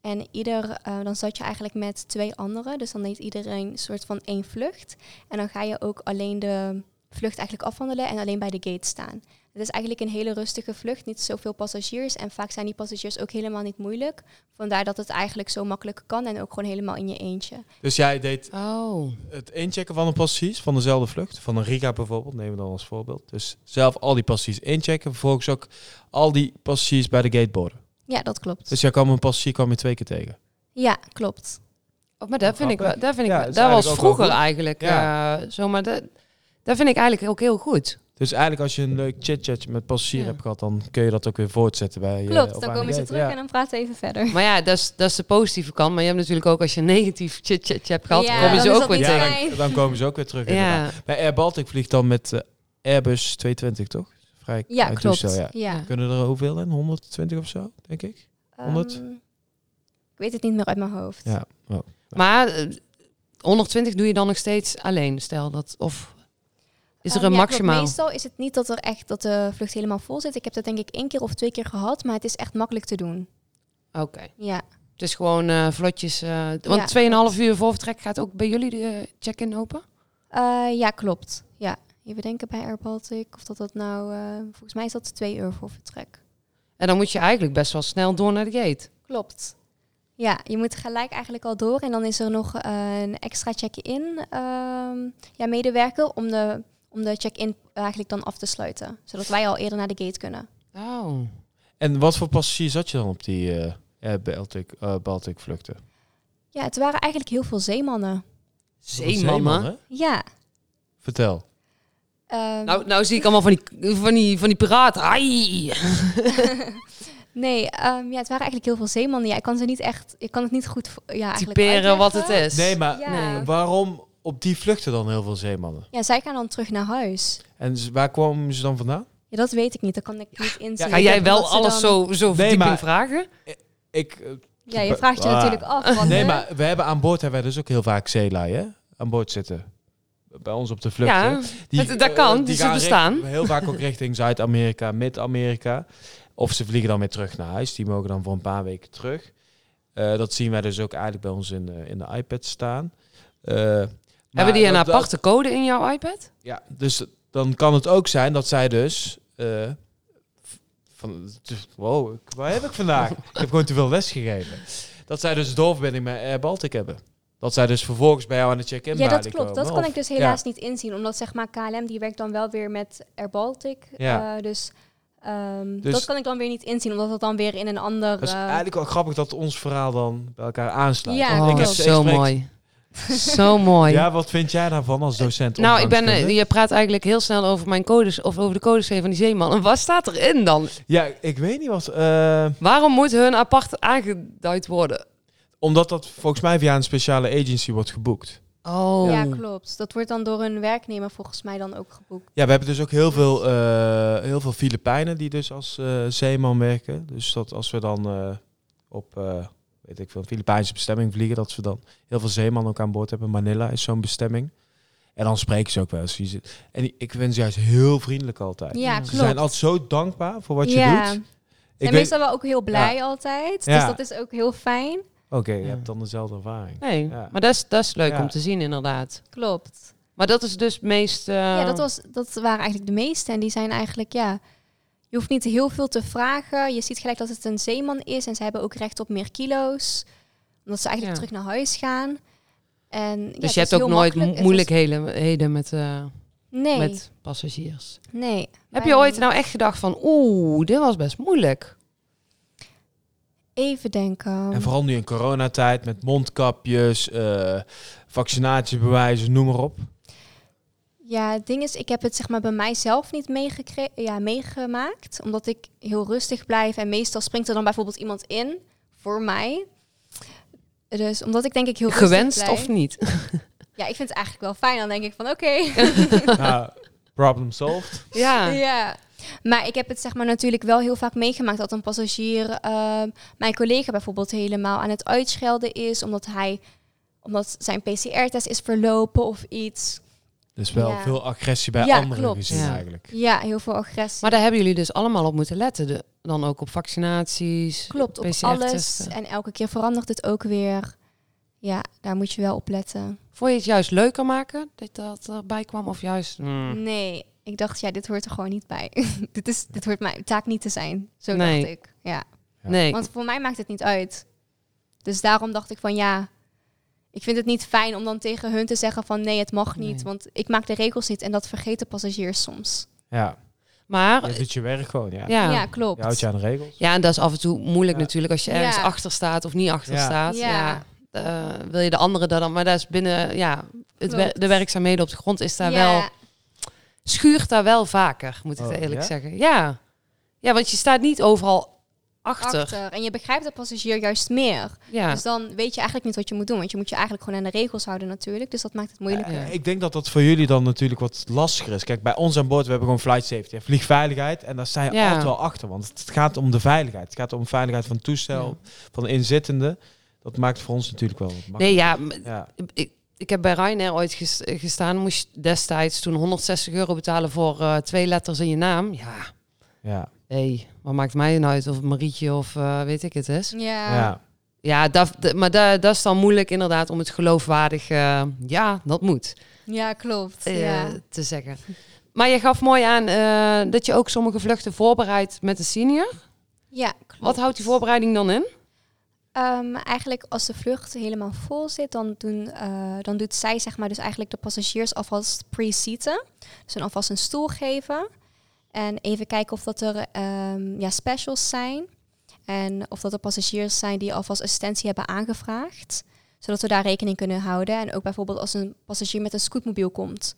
En ieder, eh, dan zat je eigenlijk met twee anderen. Dus dan deed iedereen een soort van één vlucht. En dan ga je ook alleen de vlucht eigenlijk afwandelen en alleen bij de gate staan. Het is eigenlijk een hele rustige vlucht, niet zoveel passagiers. En vaak zijn die passagiers ook helemaal niet moeilijk. Vandaar dat het eigenlijk zo makkelijk kan en ook gewoon helemaal in je eentje. Dus jij deed Oh. het inchecken van een passies van dezelfde vlucht, van een Riga bijvoorbeeld, nemen we dan als voorbeeld. Dus zelf al die passies inchecken, vervolgens ook al die passies bij de gateborden. Ja, dat klopt. Dus jij kwam een passie kwam je twee keer tegen. Ja, klopt. Oh, maar dat vind ik wel. Grappig. Dat, vind ik, Ja, wel- is dat was eigenlijk ook wel vroeger goed. eigenlijk. Ja. eh zo, maar dat, dat vind ik eigenlijk ook heel goed. Dus eigenlijk als je een leuk chit-chatje met passier Ja. hebt gehad, dan kun je dat ook weer voortzetten bij eh, je. klopt, dan komen ze terug en dan praten we even verder. Maar ja, dat is, dat is de positieve kant. Maar je hebt natuurlijk ook als je negatief chit-chat hebt gehad, Ja, komen dan ze is ook dat weer niet tegen. fijn. dan, dan komen ze ook weer terug. inderdaad. Ja. Bij Air Baltic vliegt dan met eh, Airbus 220, toch? Vrij Ja, klein klopt. toestel, ja. ja. Kunnen er hoeveel in? 120 of zo, denk ik? Ehm, 100? ik weet het niet meer uit mijn hoofd. Ja. Maar eh, 120 doe je dan nog steeds alleen, stel dat. Of Is Ehm, er een ja, klopt. maximaal? Meestal is het niet dat er echt dat de vlucht helemaal vol zit. Ik heb dat denk ik één keer of twee keer gehad, maar het is echt makkelijk te doen. Oké. Ja, Het is gewoon eh, vlotjes. eh want Ja, 2,5 uur voor vertrek gaat ook bij jullie de eh, check-in open? Eh, ja klopt. Ja. Even denken bij Air Baltic of dat dat nou... eh, volgens mij is dat twee uur voor vertrek. En dan moet je eigenlijk best wel snel door naar de gate. Klopt. Ja, je moet gelijk eigenlijk al door. En dan is er nog eh, een extra check-in ehm, ja, medewerker om de, om de check-in eigenlijk dan af te sluiten. Zodat wij al eerder naar de gate kunnen. Oh. En wat voor passagiers had je dan op die eh, eh, Baltic, eh, Baltic vluchten? Ja, het waren eigenlijk heel veel zeemannen. Zeemannen. Ja. Vertel. ehm, Nou, nou zie ik allemaal van die, van die, van die piraten. Ai. [laughs] nee, ehm, ja, het waren eigenlijk heel veel zeemannen. Ja, ik kan ze niet echt, ik kan het niet goed vo- ja, eigenlijk Typeren wat het uitleggen. is. Nee, maar Ja. Nee. waarom op die vluchten dan heel veel zeemannen? Ja, zij gaan dan terug naar huis. En z- waar kwamen ze dan vandaan? Ja, dat weet ik niet. Dat kan ik niet inzien. Ga jij Omdat wel ze alles dan- zo, zo verdieping maar- vragen? Ik, eh, Ja, je vraagt je Ah. natuurlijk [laughs] af. want, nee, hè, maar we hebben aan boord hebben wij dus ook heel vaak zeelui, hè? Aan boord zitten. Bij ons op de vluchten. Ja, het- dat eh, kan, dus ze gaan bestaan. richt- heel vaak ook [laughs] richting Zuid-Amerika, Mid-Amerika. Of ze vliegen dan weer terug naar huis. Die mogen dan voor een paar weken terug. Eh, dat zien wij dus ook eigenlijk bij ons in, eh, in de iPad staan. Eh, maar Hebben die een dat- dat- aparte code in jouw iPad? Ja, dus dan kan het ook zijn dat zij dus... eh, v- van, t- wow, ik- waar heb ik [laughs] vandaag? ik heb gewoon te veel les gegeven. Dat zij dus een doorverbinding met Air Baltic hebben. Dat zij dus vervolgens bij jou aan de check-in Ja, dat balie klopt. Dat komen, kan of- ik dus helaas niet inzien. Omdat zeg maar KLM die werkt dan wel weer met Air Baltic. Ja. Eh, dus, ehm, Dus- dat kan ik dan weer niet inzien. Omdat dat dan weer in een ander... Dat is eh, eigenlijk wel grappig dat ons verhaal dan bij elkaar aansluit. Ja, Want oh, ik heb klopt. ze zo expres- mooi. zo mooi. Ja, wat vind jij daarvan als docent? nou, ik ben, eh, omgangskunde? je praat eigenlijk heel snel over mijn codes of over de codes van die zeeman. En wat staat erin dan? Ja, ik weet niet wat... eh, Waarom moet hun apart aangeduid worden? omdat dat volgens mij via een speciale agency wordt geboekt. Oh, Ja, klopt. Dat wordt dan door hun werknemer volgens mij dan ook geboekt. Ja, we hebben dus ook heel veel, eh, heel veel Filipijnen die dus als eh, zeeman werken. Dus dat als we dan eh, op, eh, weet ik veel, een Filipijnse bestemming vliegen, dat we dan heel veel zeeman ook aan boord hebben. Manila is zo'n bestemming. En dan spreken ze ook wel eens. Die ze- En die- ik ben ze juist heel vriendelijk altijd. Ja, Ja. klopt. Ze zijn altijd zo dankbaar voor wat je ja. doet. Ik En weet... meestal wel ook heel blij altijd. Dus Ja. dat is ook heel fijn. Oké, je Ja. hebt dan dezelfde ervaring. Nee, Ja. maar dat is, dat is leuk Ja. om te zien inderdaad. Klopt. Maar dat is dus het meest... eh, Ja, dat, was, dat waren eigenlijk de meeste. En die zijn eigenlijk, ja... Je hoeft niet heel veel te vragen. Je ziet gelijk dat het een zeeman is. En ze hebben ook recht op meer kilo's. Omdat ze eigenlijk Ja. terug naar huis gaan. En, ja, dus het je is hebt ook heel nooit makkelijk. mo- Het is- moeilijkheden heden met, eh, nee, met passagiers. nee. Heb je bijna ooit niet. nou echt gedacht van... Oeh, dit was best moeilijk. Even denken. En vooral nu in coronatijd met mondkapjes, eh, vaccinatiebewijzen, noem maar [laughs] op. Ja, het ding is, ik heb het zeg maar bij mijzelf niet meegekre- ja, meegemaakt. Omdat ik heel rustig blijf. En meestal springt er dan bijvoorbeeld iemand in voor mij. Dus omdat ik denk ik heel rustig Gewenst blijf- of [laughs] niet? Ja, ik vind het eigenlijk wel fijn. Dan denk ik van oké. nou, problem solved. ja. [laughs] Ja. Maar ik heb het zeg maar natuurlijk wel heel vaak meegemaakt dat een passagier ehm, mijn collega bijvoorbeeld helemaal aan het uitschelden is omdat hij omdat zijn PCR-test is verlopen of iets. Dus wel Ja. veel agressie bij Ja, anderen klopt. gezien Ja. eigenlijk. Ja, heel veel agressie. Maar daar hebben jullie dus allemaal op moeten letten. De- dan ook op vaccinaties. Klopt, op alles. PCR-testen. En elke keer verandert het ook weer. Ja, daar moet je wel op letten. Vond je het juist leuker maken dat dat erbij kwam? Of juist... Hmm. mm, Nee, ik dacht, ja, dit hoort er gewoon niet bij. [laughs] dit, is, dit hoort mijn taak niet te zijn. Zo Nee. dacht ik. Ja. Ja. nee. Want voor mij maakt het niet uit. Dus daarom dacht ik van ja, ik vind het niet fijn om dan tegen hun te zeggen van nee, het mag niet. Nee. Want ik maak de regels niet en dat vergeten passagiers soms. Ja, maar... je doet je werk gewoon, ja. Ja, Ja. ja. klopt. Je houdt je aan de regels. en dat is af en toe moeilijk Ja. natuurlijk als je ergens Ja. achter staat of niet achter Ja. staat. Ja. Ja. Eh, wil je de andere daar dan... Maar daar is binnen... Ja, het wer- Klopt. de werkzaamheden op de grond is daar Ja, wel... schuurt daar wel vaker, moet ik Oh, eerlijk ja? zeggen. Ja. ja, want je staat niet overal achter. achter. En je begrijpt de passagier juist meer. Ja. Dus dan weet je eigenlijk niet wat je moet doen. Want je moet je eigenlijk gewoon aan de regels houden natuurlijk. Dus dat maakt het moeilijker. Ja. Ik denk dat dat voor jullie dan natuurlijk wat lastiger is. Kijk, bij ons aan boord, we hebben gewoon flight safety, hè, vliegveiligheid. En daar sta je Ja. altijd wel achter, want het gaat om de veiligheid. Het gaat om veiligheid van het toestel, van de inzittenden. Dat maakt voor ons natuurlijk wel wat Nee, makkelijker. ja, m- Ja. ik, ik heb bij Ryanair ooit ges- gestaan, moest je destijds toen 160 euro betalen voor eh, twee letters in je naam. Ja, Ja. hey, wat maakt mij dan uit of het Marietje of eh, weet ik het is. Ja. ja. Ja, dat, d- maar dat, dat is dan moeilijk inderdaad om het geloofwaardig, eh, ja, dat moet, Ja, klopt. eh, ja. te zeggen. Maar je gaf mooi aan eh, dat je ook sommige vluchten voorbereidt met de senior. ja, klopt. Wat houdt die voorbereiding dan in? Ehm, eigenlijk als de vlucht helemaal vol zit, dan, doen, eh, dan doet zij zeg maar dus eigenlijk de passagiers alvast pre-seaten. Dus dan alvast een stoel geven. En even kijken of dat er ehm, ja, specials zijn. En of dat er passagiers zijn die alvast assistentie hebben aangevraagd. Zodat we daar rekening kunnen houden. En ook bijvoorbeeld als een passagier met een scootmobiel komt.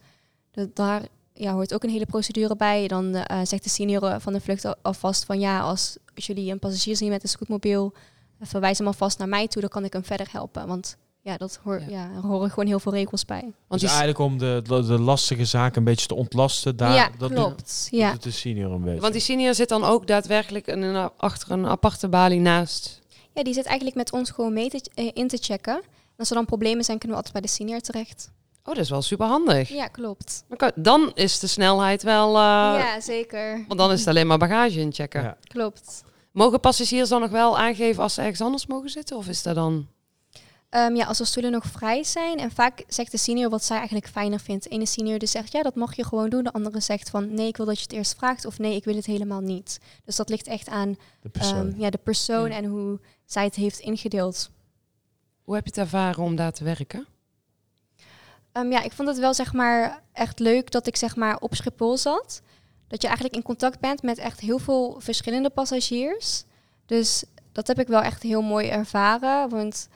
Dat daar ja, hoort ook een hele procedure bij. Dan eh, zegt de senior van de vlucht al- alvast van ja, als jullie een passagier zien met een scootmobiel, verwijs hem alvast naar mij toe, dan kan ik hem verder helpen. Want ja, dat hoor, Ja. ja. er horen gewoon heel veel regels bij. Want Dus die, eigenlijk om de, de, de lastige zaken een beetje te ontlasten. Daar, ja, dat Doet, klopt. dat ja. doet de senior een beetje. want die senior zit dan ook daadwerkelijk in een- achter een aparte balie naast. ja, die zit eigenlijk met ons gewoon mee te, eh, in te checken. En als er dan problemen zijn, kunnen we altijd bij de senior terecht. Oh, dat is wel super handig. Ja, klopt. Dan kan- Dan is de snelheid wel. eh, ja, zeker. Want dan is het alleen maar bagage inchecken. Ja. Klopt. Mogen passagiers dan nog wel aangeven als ze ergens anders mogen zitten? Of is dat dan. Ehm, ja, als er stoelen nog vrij zijn. En vaak zegt de senior wat zij eigenlijk fijner vindt. De ene senior dus zegt, ja, dat mag je gewoon doen. De andere zegt van, nee, ik wil dat je het eerst vraagt. Of nee, ik wil het helemaal niet. Dus dat ligt echt aan de ehm, persoon. ja, de persoon Ja. en hoe zij het heeft ingedeeld. Hoe heb je het ervaren om daar te werken? Ehm, ja, ik vond het wel zeg maar echt leuk dat ik zeg maar op Schiphol zat. Dat je eigenlijk in contact bent met echt heel veel verschillende passagiers. Dus dat heb ik wel echt heel mooi ervaren. Want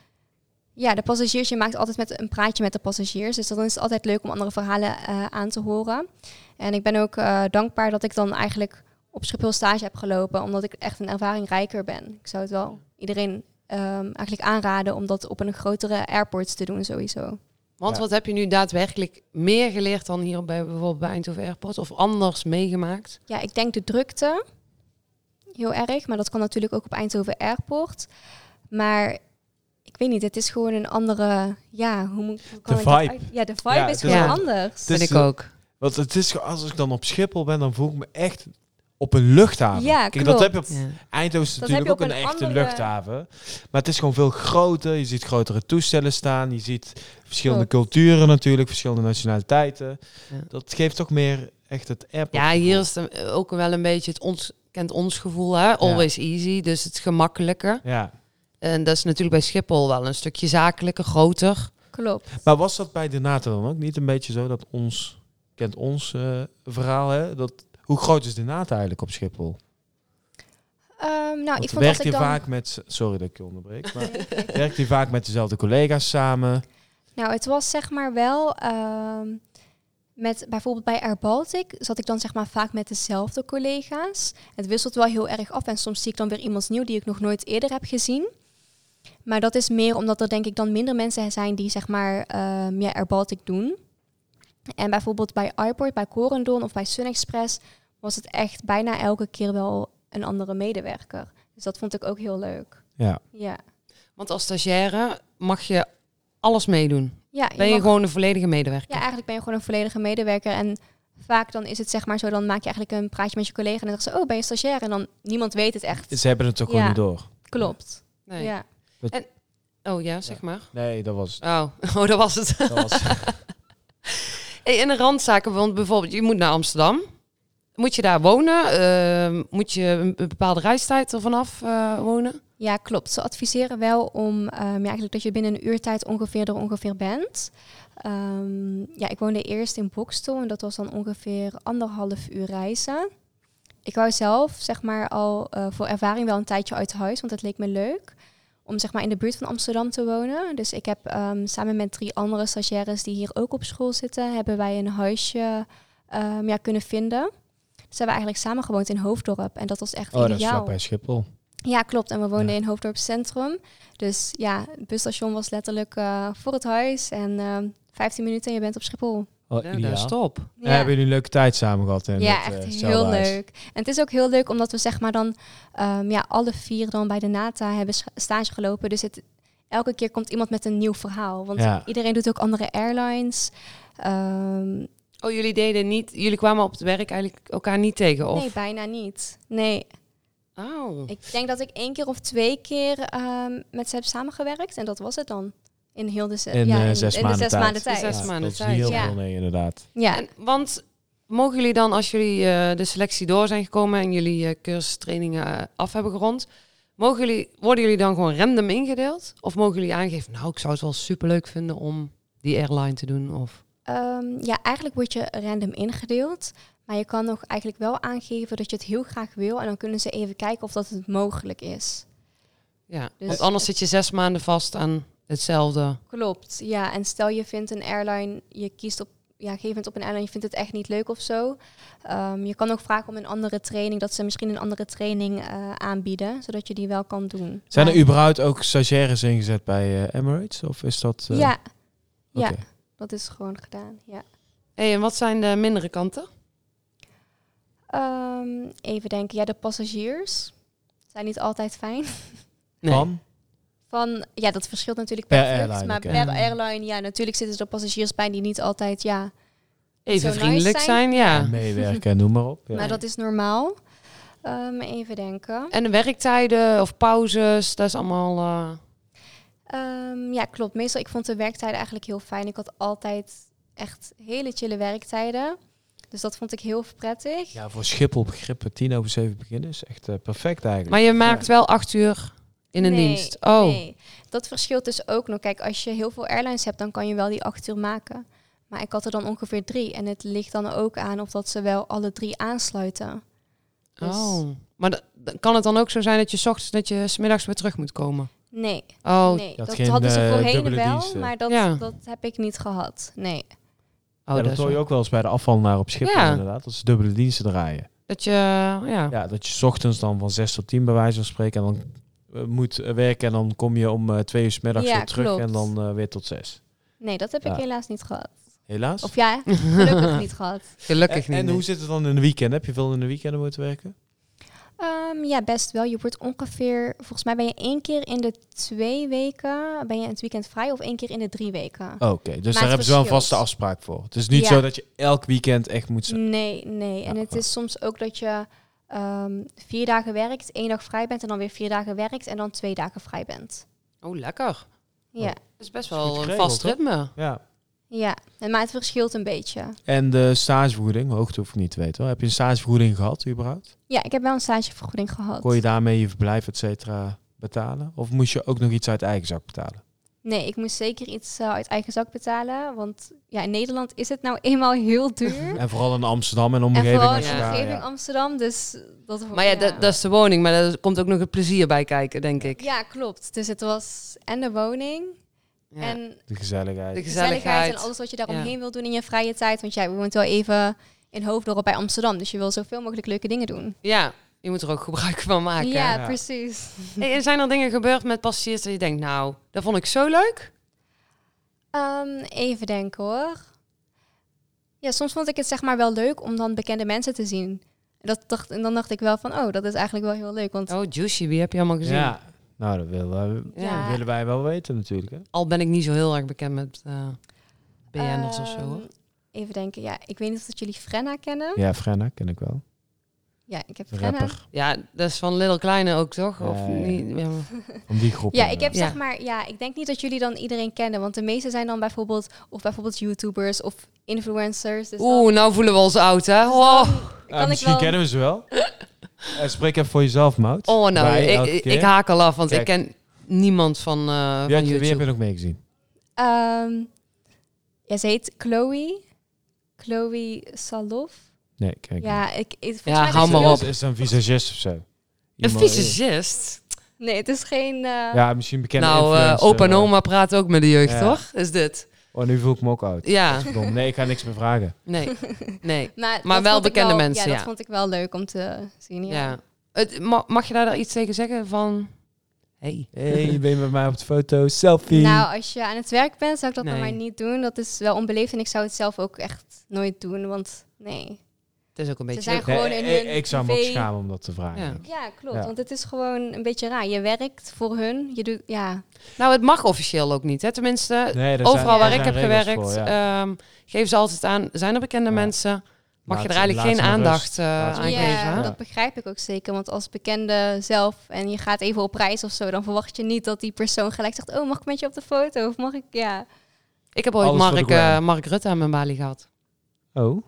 ja, de passagiers, je maakt altijd met een praatje met de passagiers. Dus dan is het altijd leuk om andere verhalen eh, aan te horen. En ik ben ook eh, dankbaar dat ik dan eigenlijk op Schiphol stage heb gelopen. Omdat ik echt een ervaring rijker ben. Ik zou het wel iedereen ehm, eigenlijk aanraden om dat op een grotere airport te doen sowieso. Want Ja. wat heb je nu daadwerkelijk meer geleerd dan hier bij bijvoorbeeld bij Eindhoven Airport? Of anders meegemaakt? Ja, ik denk de drukte. Heel erg. Maar dat kan natuurlijk ook op Eindhoven Airport. Maar ik weet niet, het is gewoon een andere... Ja, hoe moet hoe kan De ik dat vibe. uit- Ja, de vibe Ja, is is het gewoon een- anders. Het is Vind ik ook. Want het is, ge- als ik dan op Schiphol ben, dan voel ik me echt op een luchthaven. Ja, Kijk, dat heb klopt. je op Ja. Eindhoven is Dat natuurlijk heb ook je een, op een echte andere- luchthaven. Maar het is gewoon veel groter. Je ziet grotere toestellen staan. Je ziet verschillende Klopt. culturen natuurlijk, verschillende nationaliteiten. Ja. Dat geeft toch meer echt het app. Ja, hier is het een- ook wel een beetje het ons, kent ons gevoel, hè? Always easy, dus het gemakkelijke. Ja. En dat is natuurlijk bij Schiphol wel een stukje zakelijker, groter. Klopt. Maar was dat bij de NATO dan ook niet een beetje zo dat ons, kent ons eh, verhaal, hè? Dat, hoe groot is de NATO eigenlijk op Schiphol? Ehm, nou, Want ik Nou, vond werkt dat je ik dan... vaak met, sorry dat ik je onderbreek, [laughs] maar [laughs] werkt je vaak met dezelfde collega's samen? Nou, het was zeg maar wel... ehm, met, bijvoorbeeld bij Air Baltic zat ik dan zeg maar vaak met dezelfde collega's. Het wisselt wel heel erg af en soms zie ik dan weer iemand nieuw die ik nog nooit eerder heb gezien. Maar dat is meer omdat er denk ik dan minder mensen zijn die zeg maar ehm ja, Air Baltic doen. En bijvoorbeeld bij iPort, bij Corendon of bij SunExpress was het echt bijna elke keer wel een andere medewerker. Dus dat vond ik ook heel leuk. Ja. Ja, Want als stagiaire mag je alles meedoen. ja Ben je mag- gewoon een volledige medewerker? Ja, eigenlijk ben je gewoon een volledige medewerker. En vaak dan is het zeg maar zo, dan maak je eigenlijk een praatje met je collega en dan zeggen ze, oh, ben je stagiair? En dan niemand weet het echt. Ze hebben het toch Ja. gewoon niet door? Klopt. Nee. Ja. Oh ja, zeg maar. Nee, dat was Oh, oh [laughs] dat was het. Dat [laughs] was, Hey, in de randzaken, want bijvoorbeeld, je moet naar Amsterdam. Moet je daar wonen? Ehm, moet je een een bepaalde reistijd er vanaf eh, wonen? ja, klopt. Ze adviseren wel om ehm, ja, eigenlijk dat je binnen een uur tijd ongeveer er ongeveer bent. Ehm, ja, ik woonde eerst in Bokstel en dat was dan ongeveer anderhalf uur reizen. Ik wou zelf zeg maar al eh, voor ervaring wel een tijdje uit huis, want het leek me leuk om zeg maar in de buurt van Amsterdam te wonen. Dus ik heb ehm, samen met drie andere stagiaires die hier ook op school zitten, hebben wij een huisje ehm, ja, kunnen vinden. Dus hebben we eigenlijk samen gewoond in Hoofddorp en dat was echt oh, dat is vlak ideaal. bij Schiphol. Ja, klopt. En we woonden Ja. in Hoofddorp Centrum. Dus ja, het busstation was letterlijk eh, voor het huis. En ehm, 15 minuten en je bent op Schiphol. Oh, Ja, dat is top. En hebben jullie een leuke tijd samen gehad? hè, ja, met, eh, echt heel hetzelfde huis? leuk. En het is ook heel leuk omdat we zeg maar dan ehm, ja, alle vier dan bij de NATA hebben s- stage gelopen. Dus het, elke keer komt iemand met een nieuw verhaal. Want Ja. iedereen doet ook andere airlines. Ehm, Oh, jullie deden niet, jullie kwamen op het werk eigenlijk elkaar niet tegen? Of? nee, bijna niet. Nee, Oh. ik denk dat ik één keer of twee keer ehm, met ze heb samengewerkt. En dat was het dan. In heel de, ze- In, ja, eh, in, zes in maanden de zes tijd. maanden tijd. Zes maanden dat is tijd, niet heel ja. veel, nee, inderdaad. Ja. En, want mogen jullie dan, als jullie eh, de selectie door zijn gekomen en jullie eh cursustrainingen eh, af hebben gerond, mogen jullie, worden jullie dan gewoon random ingedeeld? Of mogen jullie aangeven, nou, ik zou het wel superleuk vinden om die airline te doen? Of... Ehm, ja, eigenlijk word je random ingedeeld. Maar je kan nog eigenlijk wel aangeven dat je het heel graag wil. En dan kunnen ze even kijken of dat het mogelijk is. Ja, Dus- want anders zit je zes maanden vast aan hetzelfde. Klopt, ja. En stel je vindt een airline, je kiest op ja, op een gegeven moment op een airline, je vindt het echt niet leuk of zo. Ehm, je kan ook vragen om een andere training, dat ze misschien een andere training eh, aanbieden, zodat je die wel kan doen. Zijn Maar- er überhaupt ook stagiaires ingezet bij eh, Emirates? Of is dat... eh, Ja, oké. ja, dat is gewoon gedaan, ja. hey, en wat zijn de mindere kanten? Ehm, even denken, ja, de passagiers zijn niet altijd fijn. [laughs] Van? Van, ja, dat verschilt natuurlijk Per per, vlucht, airline maar ook, hè? per Ja. airline, ja, natuurlijk zitten er passagiers bij die niet altijd, ja, Zo Even nice vriendelijk zijn. zijn, ja. En Meewerken en noem maar op. Ja. maar dat is normaal. Ehm, even denken. En de werktijden of pauzes, dat is allemaal... eh, Ehm, ja, klopt. Meestal, ik vond de werktijden eigenlijk heel fijn. Ik had altijd echt hele chille werktijden. Dus dat vond ik heel prettig. Ja, voor Schiphol begrippen 10 over 7 beginnen is echt eh, perfect eigenlijk. Maar je maakt wel acht uur in een Nee, dienst. Oh, Nee. Dat verschilt dus ook nog. Kijk, als je heel veel airlines hebt, dan kan je wel die acht uur maken. Maar ik had er dan ongeveer drie. En het ligt dan ook aan of dat ze wel alle drie aansluiten. Dus- oh. maar d- d- kan het dan ook zo zijn dat je 's ochtends dat je 's middags weer terug moet komen? Nee, Oh, nee. had dat geen, hadden ze eh, voorheen dubbele wel, diensten. maar dat, Ja. dat heb ik niet gehad. Nee. oh ja, dat, dat is hoor je wel- ook wel eens bij de afvalnaar op Schiphol Ja. inderdaad. Dat ze dubbele diensten draaien. dat je, ja. Ja, dat je 's ochtends dan van 6 tot 10 bij wijze van spreken en dan eh, moet eh, werken en dan kom je om eh, 2 uur 's middags Ja, weer terug klopt. en dan eh, weer tot 6. Nee, dat heb Ja. ik helaas niet gehad. Helaas. Of [laughs] ja, gelukkig niet gehad. gelukkig en niet. en hoe zit het dan in de weekend? Heb je veel in de weekenden moeten werken? Ehm, ja, best wel. Je wordt ongeveer, volgens mij ben je één keer in de twee weken, ben je het weekend vrij of één keer in de drie weken? Oké, dus het daar hebben ze wel een verschilt. vaste afspraak voor. Het is niet Ja. zo dat je elk weekend echt moet zijn. Nee, nee. En Ja, het goed. is soms ook dat je ehm, vier dagen werkt, één dag vrij bent en dan weer vier dagen werkt en dan twee dagen vrij bent. Oh, lekker. Ja, Dat is best Dat is goed wel een geregeld, vast hoor. ritme. Ja. ja. En, maar het verschilt een beetje. En de stagevergoeding, hoogte hoef ik niet te weten. hoor. Heb je een stagevergoeding gehad überhaupt? Ja, ik heb wel een stagevergoeding gehad. Kon je daarmee je verblijf, et cetera, betalen? Of moest je ook nog iets uit eigen zak betalen? Nee, ik moest zeker iets eh, uit eigen zak betalen, want ja, in Nederland is het nou eenmaal [laughs] heel duur. En vooral in Amsterdam en en omgeving. vooral in als de je ja. daar- omgeving ja. Amsterdam, dus dat... Maar ja, dat, dat is de woning, maar daar komt ook nog het plezier bij kijken, denk ik. Ja, klopt. Dus het was en de woning Ja. en de De gezelligheid. de gezelligheid en gezelligheid. alles wat je daaromheen wil doen in je vrije tijd. Want jij woont wel even in Hoofddorp bij Amsterdam, dus je wil zoveel mogelijk leuke dingen doen. Ja, je moet er ook gebruik van maken. ja, Ja. precies. Hey, en zijn er dingen gebeurd met passagiers dat je denkt, nou, dat vond ik zo leuk? Ehm, even denken hoor. Ja, soms vond ik het zeg maar wel leuk om dan bekende mensen te zien. Dat dacht, en dan dacht ik wel van, oh, dat is eigenlijk wel heel leuk. Want Oh, Juicy, wie heb je allemaal gezien? Ja, nou dat willen, Ja. Ja. willen wij wel weten natuurlijk. Hè? Al ben ik niet zo heel erg bekend met eh BN'ers of zo. ehm, hoor. Even denken, ja, ik weet niet of dat jullie Frenna kennen. Ja, Frenna ken ik wel. Ja, ik heb Een Frenna. rapper Ja, dat is van Little Kleine ook, toch? Of Ja, ja, ja. niet? Ja, maar- van die groep. Ja, ik heb eh, Ja. zeg maar, ja, ik denk niet dat jullie dan iedereen kennen, want de meeste zijn dan bijvoorbeeld of bijvoorbeeld YouTubers of influencers. Dus dan- Dus Oeh, nou voelen we ons oud, hè? Oh, kan ik Ah, misschien wel- kennen we ze wel. [laughs] Eh, spreek even voor jezelf, Mout. oh nou, Wij elke ik, ik, keer. ik haak al af, want Kijk. ik ken niemand van, eh van Wie, had je- wie heb YouTube. je nog meegezien? Ehm, ja, ze heet Chloe, Chloe Salof. Nee, kijk. Ja, ik, ik volgens Ja, mij is hou ze maar heel- op. Is, is dat een visagist of zo? Een Iemand- fysicist? Nee, het is geen. eh, Ja, misschien bekende Nou, eh, influencer, opa en eh. oma praten ook met de jeugd, Ja. toch? Is dit? Oh, nu voel ik me ook [laughs] oud. Ja, Verdomme. Nee, ik ga niks meer vragen. nee, nee. Maar, dat wel vond ik bekende wel- mensen, Ja, ja. dat vond ik wel leuk om te zien. Ja. Ja. Het, ma- mag je daar iets tegen zeggen van... Hey. hey, je bent met mij op de foto. Selfie. Nou, als je aan het werk bent, zou ik dat dan Nee. maar niet doen. Dat is wel onbeleefd en ik zou het zelf ook echt nooit doen, want nee. Het is ook een beetje... zijn leuk. Gewoon in Nee, hun ik zou me ook privé- schamen om dat te vragen. Ja. denk ik. Ja, klopt. Ja. Want het is gewoon een beetje raar. Je werkt voor hun. Je doet, ja, Nou, het mag officieel ook niet. Hè? Tenminste, Nee, daar overal zijn- waar daar ik heb zijn regels gewerkt, voor, ja. ehm, geven ze altijd aan, zijn er bekende Ja. mensen, mag Laat- je er eigenlijk laat geen ze maar aandacht rust. eh, Laat ze aan maar ja, geven. hè? hè? dat begrijp ik ook zeker. Want als bekende zelf en je gaat even op reis of zo, dan verwacht je niet dat die persoon gelijk zegt: Oh, mag ik met je op de foto? Of mag ik? Ja. Ik heb ooit Alles voor de Mark, eh, gram. Mark Rutte aan mijn balie gehad. eh, Oh,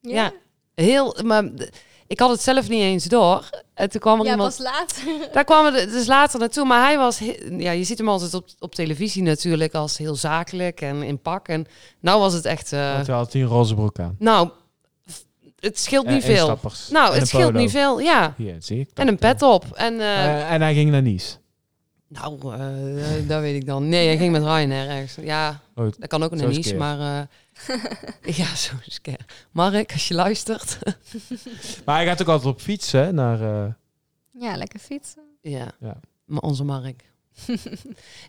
Ja. Heel, maar d- ik had het zelf niet eens door. En toen kwam er Ja, iemand... pas [laughs] later. Daar kwamen we dus later naartoe. Maar hij was... he- Ja, je ziet hem altijd op, op televisie natuurlijk als heel zakelijk en in pak. En nou was het echt... eh, want hij had hij een roze broek aan. nou, f- het scheelt En- niet Eh, en veel. stappers. Nou, En het een scheelt polo. niet veel, ja. Hier, zie ik. En een pet op. En, eh, Eh, en hij ging naar Nice. Nou, eh, eh, dat weet ik dan. Nee, hij ging met Ryanair ergens. Ja, Oh, dat kan ook Zo een is niche, keer. maar... eh, [laughs] ja, zo is keer. Mark, als je luistert. Maar hij gaat ook altijd op fietsen naar... eh, Ja, lekker fietsen. ja, Ja. maar onze Mark. [laughs]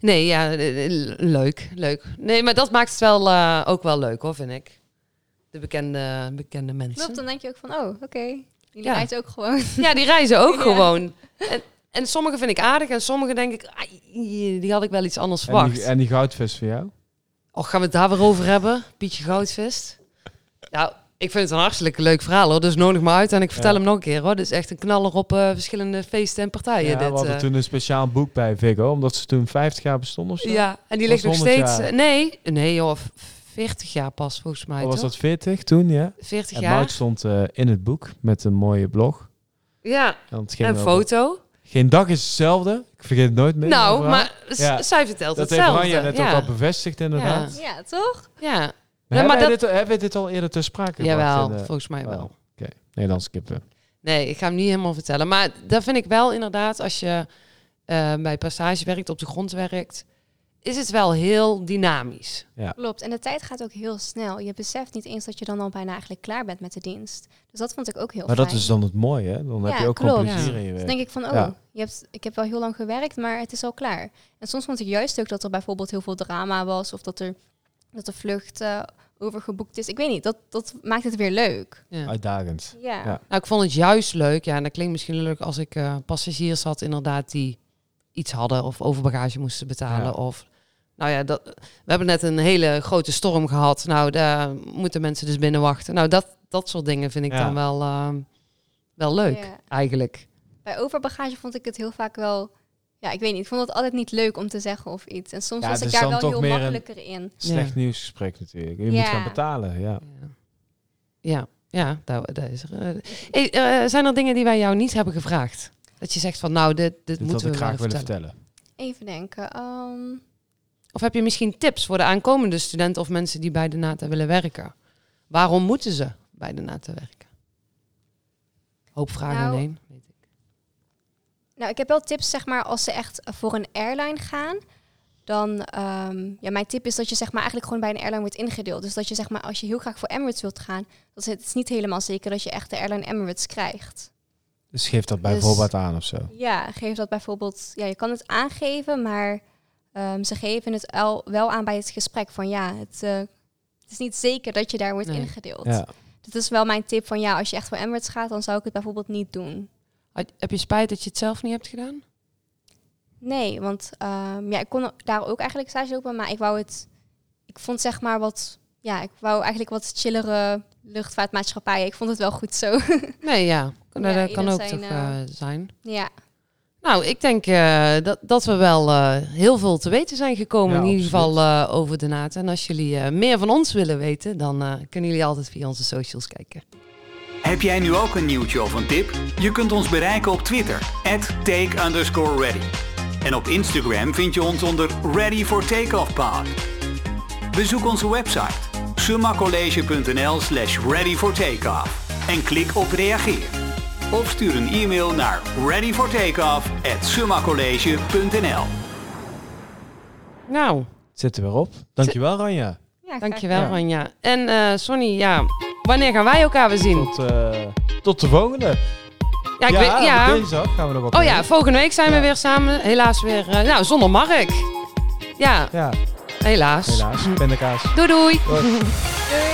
nee, ja, eh, eh, leuk, leuk. Nee, maar dat maakt het wel, eh, ook wel leuk, hoor, vind ik. De bekende, bekende mensen. Klopt, dan denk je ook van: Oh, oké. Jullie Ja. rijdt ook gewoon. Ja, die reizen ook [laughs] Ja. gewoon. En, en sommige vind ik aardig en sommige denk ik... ai, die had ik wel iets anders en, verwacht. die, en die goudvis voor jou? Och, Oh, gaan we het daar weer over hebben? Pietje Goudvist. Nou, ik vind het een hartstikke leuk verhaal hoor. Dus nodig me uit en ik vertel Ja. hem nog een keer hoor. Dit is echt een knaller op eh, verschillende feesten en partijen. ja, dit, we hadden eh. toen een speciaal boek bij Viggo, omdat ze toen 50 jaar bestond of zo. ja, en die was ligt nog 100 steeds. eh, jaar. Nee, nee joh, v- 40 jaar pas volgens mij. Of was toch? dat 40 toen, ja? 40 En jaar. Mark stond eh, in het boek met een mooie blog. Ja, En, het ging en over- foto. Geen dag is hetzelfde. Ik vergeet het nooit meer. Nou, overal. maar s- Ja. zij vertelt Dat heeft hetzelfde. Ranja net ja. ook al bevestigd, inderdaad. Ja. Ja, toch? ja. Maar Ja, maar hebben, wij dat- dit, hebben we dit al eerder ter sprake gebracht? Jawel, in de- Oh. volgens mij wel. Oké, Nederlandse kippen. Nee, ik ga hem niet helemaal vertellen. Maar dat vind ik wel inderdaad, als je eh, bij passage werkt, op de grond werkt, is het wel heel dynamisch. Klopt. En de tijd gaat ook heel snel. Je beseft niet eens dat je dan al bijna eigenlijk klaar bent met de dienst. Dus dat vond ik ook heel Maar fijn. dat is dan het mooie, hè? Dan heb Ja, je ook gewoon klopt. plezier Ja. in je Dus werk. denk ik van, oh, Ja. je hebt, ik heb wel heel lang gewerkt, maar het is al klaar. En soms vond ik juist ook dat er bijvoorbeeld heel veel drama was of dat er dat de vlucht eh, overgeboekt is. Ik weet niet, dat, dat maakt het weer leuk. Ja. Uitdagend. Ja, Ja. ja. Nou, ik vond het juist leuk. Ja, en dat klinkt misschien leuk als ik eh, passagiers had, inderdaad, die iets hadden of overbagage moesten betalen. Ja. Of, nou ja, dat, we hebben net een hele grote storm gehad. Nou, daar moeten mensen dus binnen wachten. Nou, dat, dat soort dingen vind ik Ja. dan wel, eh, wel leuk, Ja. eigenlijk. Bij overbagage vond ik het heel vaak wel, ja, ik weet niet, ik vond het altijd niet leuk om te zeggen of iets. En soms Ja, was het ik is daar dan wel toch heel meer een- makkelijker in. Slecht Ja. nieuwsgesprek natuurlijk. Je Ja. moet gaan betalen, ja. Ja, ja, ja dat, dat is er. Eh, hey, eh, zijn er dingen die wij jou niet hebben gevraagd? Dat je zegt van, nou, dit, dit, Dit had moeten ik we graag graag willen vertellen. vertellen. Even denken. ehm, Of heb je misschien tips voor de aankomende studenten of mensen die bij de NATA willen werken? Waarom moeten ze bij de NATA werken? Hoop vragen Nou, in één. weet ik. Nou, ik heb wel tips, zeg maar, als ze echt voor een airline gaan. Dan, ehm, ja, mijn tip is dat je zeg maar eigenlijk gewoon bij een airline wordt ingedeeld. Dus dat je zeg maar, als je heel graag voor Emirates wilt gaan, dat is het is niet helemaal zeker dat je echt de airline Emirates krijgt. Dus geef dat bij Dus- voorbaat aan of zo. Ja, geef dat bijvoorbeeld, ja, je kan het aangeven, maar ehm, ze geven het al wel aan bij het gesprek van ja, het, eh, het is niet zeker dat je daar wordt Nee. ingedeeld. Ja. Dat is wel mijn tip van ja, als je echt voor Emirates gaat, dan zou ik het bijvoorbeeld niet doen. Had- Heb je spijt dat je het zelf niet hebt [laughs] gedaan? Nee, want ehm, ja, ik kon daar ook eigenlijk stage lopen, maar ik wou het. Ik vond zeg maar wat. Ja, ik wou eigenlijk wat chillere luchtvaartmaatschappijen. Ik vond het wel goed zo. [laughs] Nee, ja. Dat, Ja, dat ieder kan ook zijn, toch eh, eh, zijn. ja, Nou, ik denk eh, dat, dat we wel eh, heel veel te weten zijn gekomen. Ja, in ieder absoluut. geval eh, over de naad. En als jullie eh, meer van ons willen weten, dan eh, kunnen jullie altijd via onze socials kijken. Heb jij nu ook een nieuwtje of een tip? Je kunt ons bereiken op Twitter, at take underscore ready. En op Instagram vind je ons onder Ready for Takeoff Pod. Bezoek onze website summacollege.nl slash ready for takeoff en klik op reageer. Of stuur een e-mail naar readyfortakeoff at summacollege.nl. Nou, Zitten we erop. Dankjewel, Ranja. ja graag dankjewel Ja. Ranja. En eh, Sonny, ja, wanneer gaan wij elkaar weer zien? Tot, eh, tot de volgende. Ja, ik weet, ja. dinsdag gaan we nog wat Oh doen. ja, volgende week zijn we Ja. weer samen. Helaas weer, eh, nou, zonder Mark. Ja, Ja, helaas. helaas. Pindakaas. Doei doei. Doei. gedaan. Doei.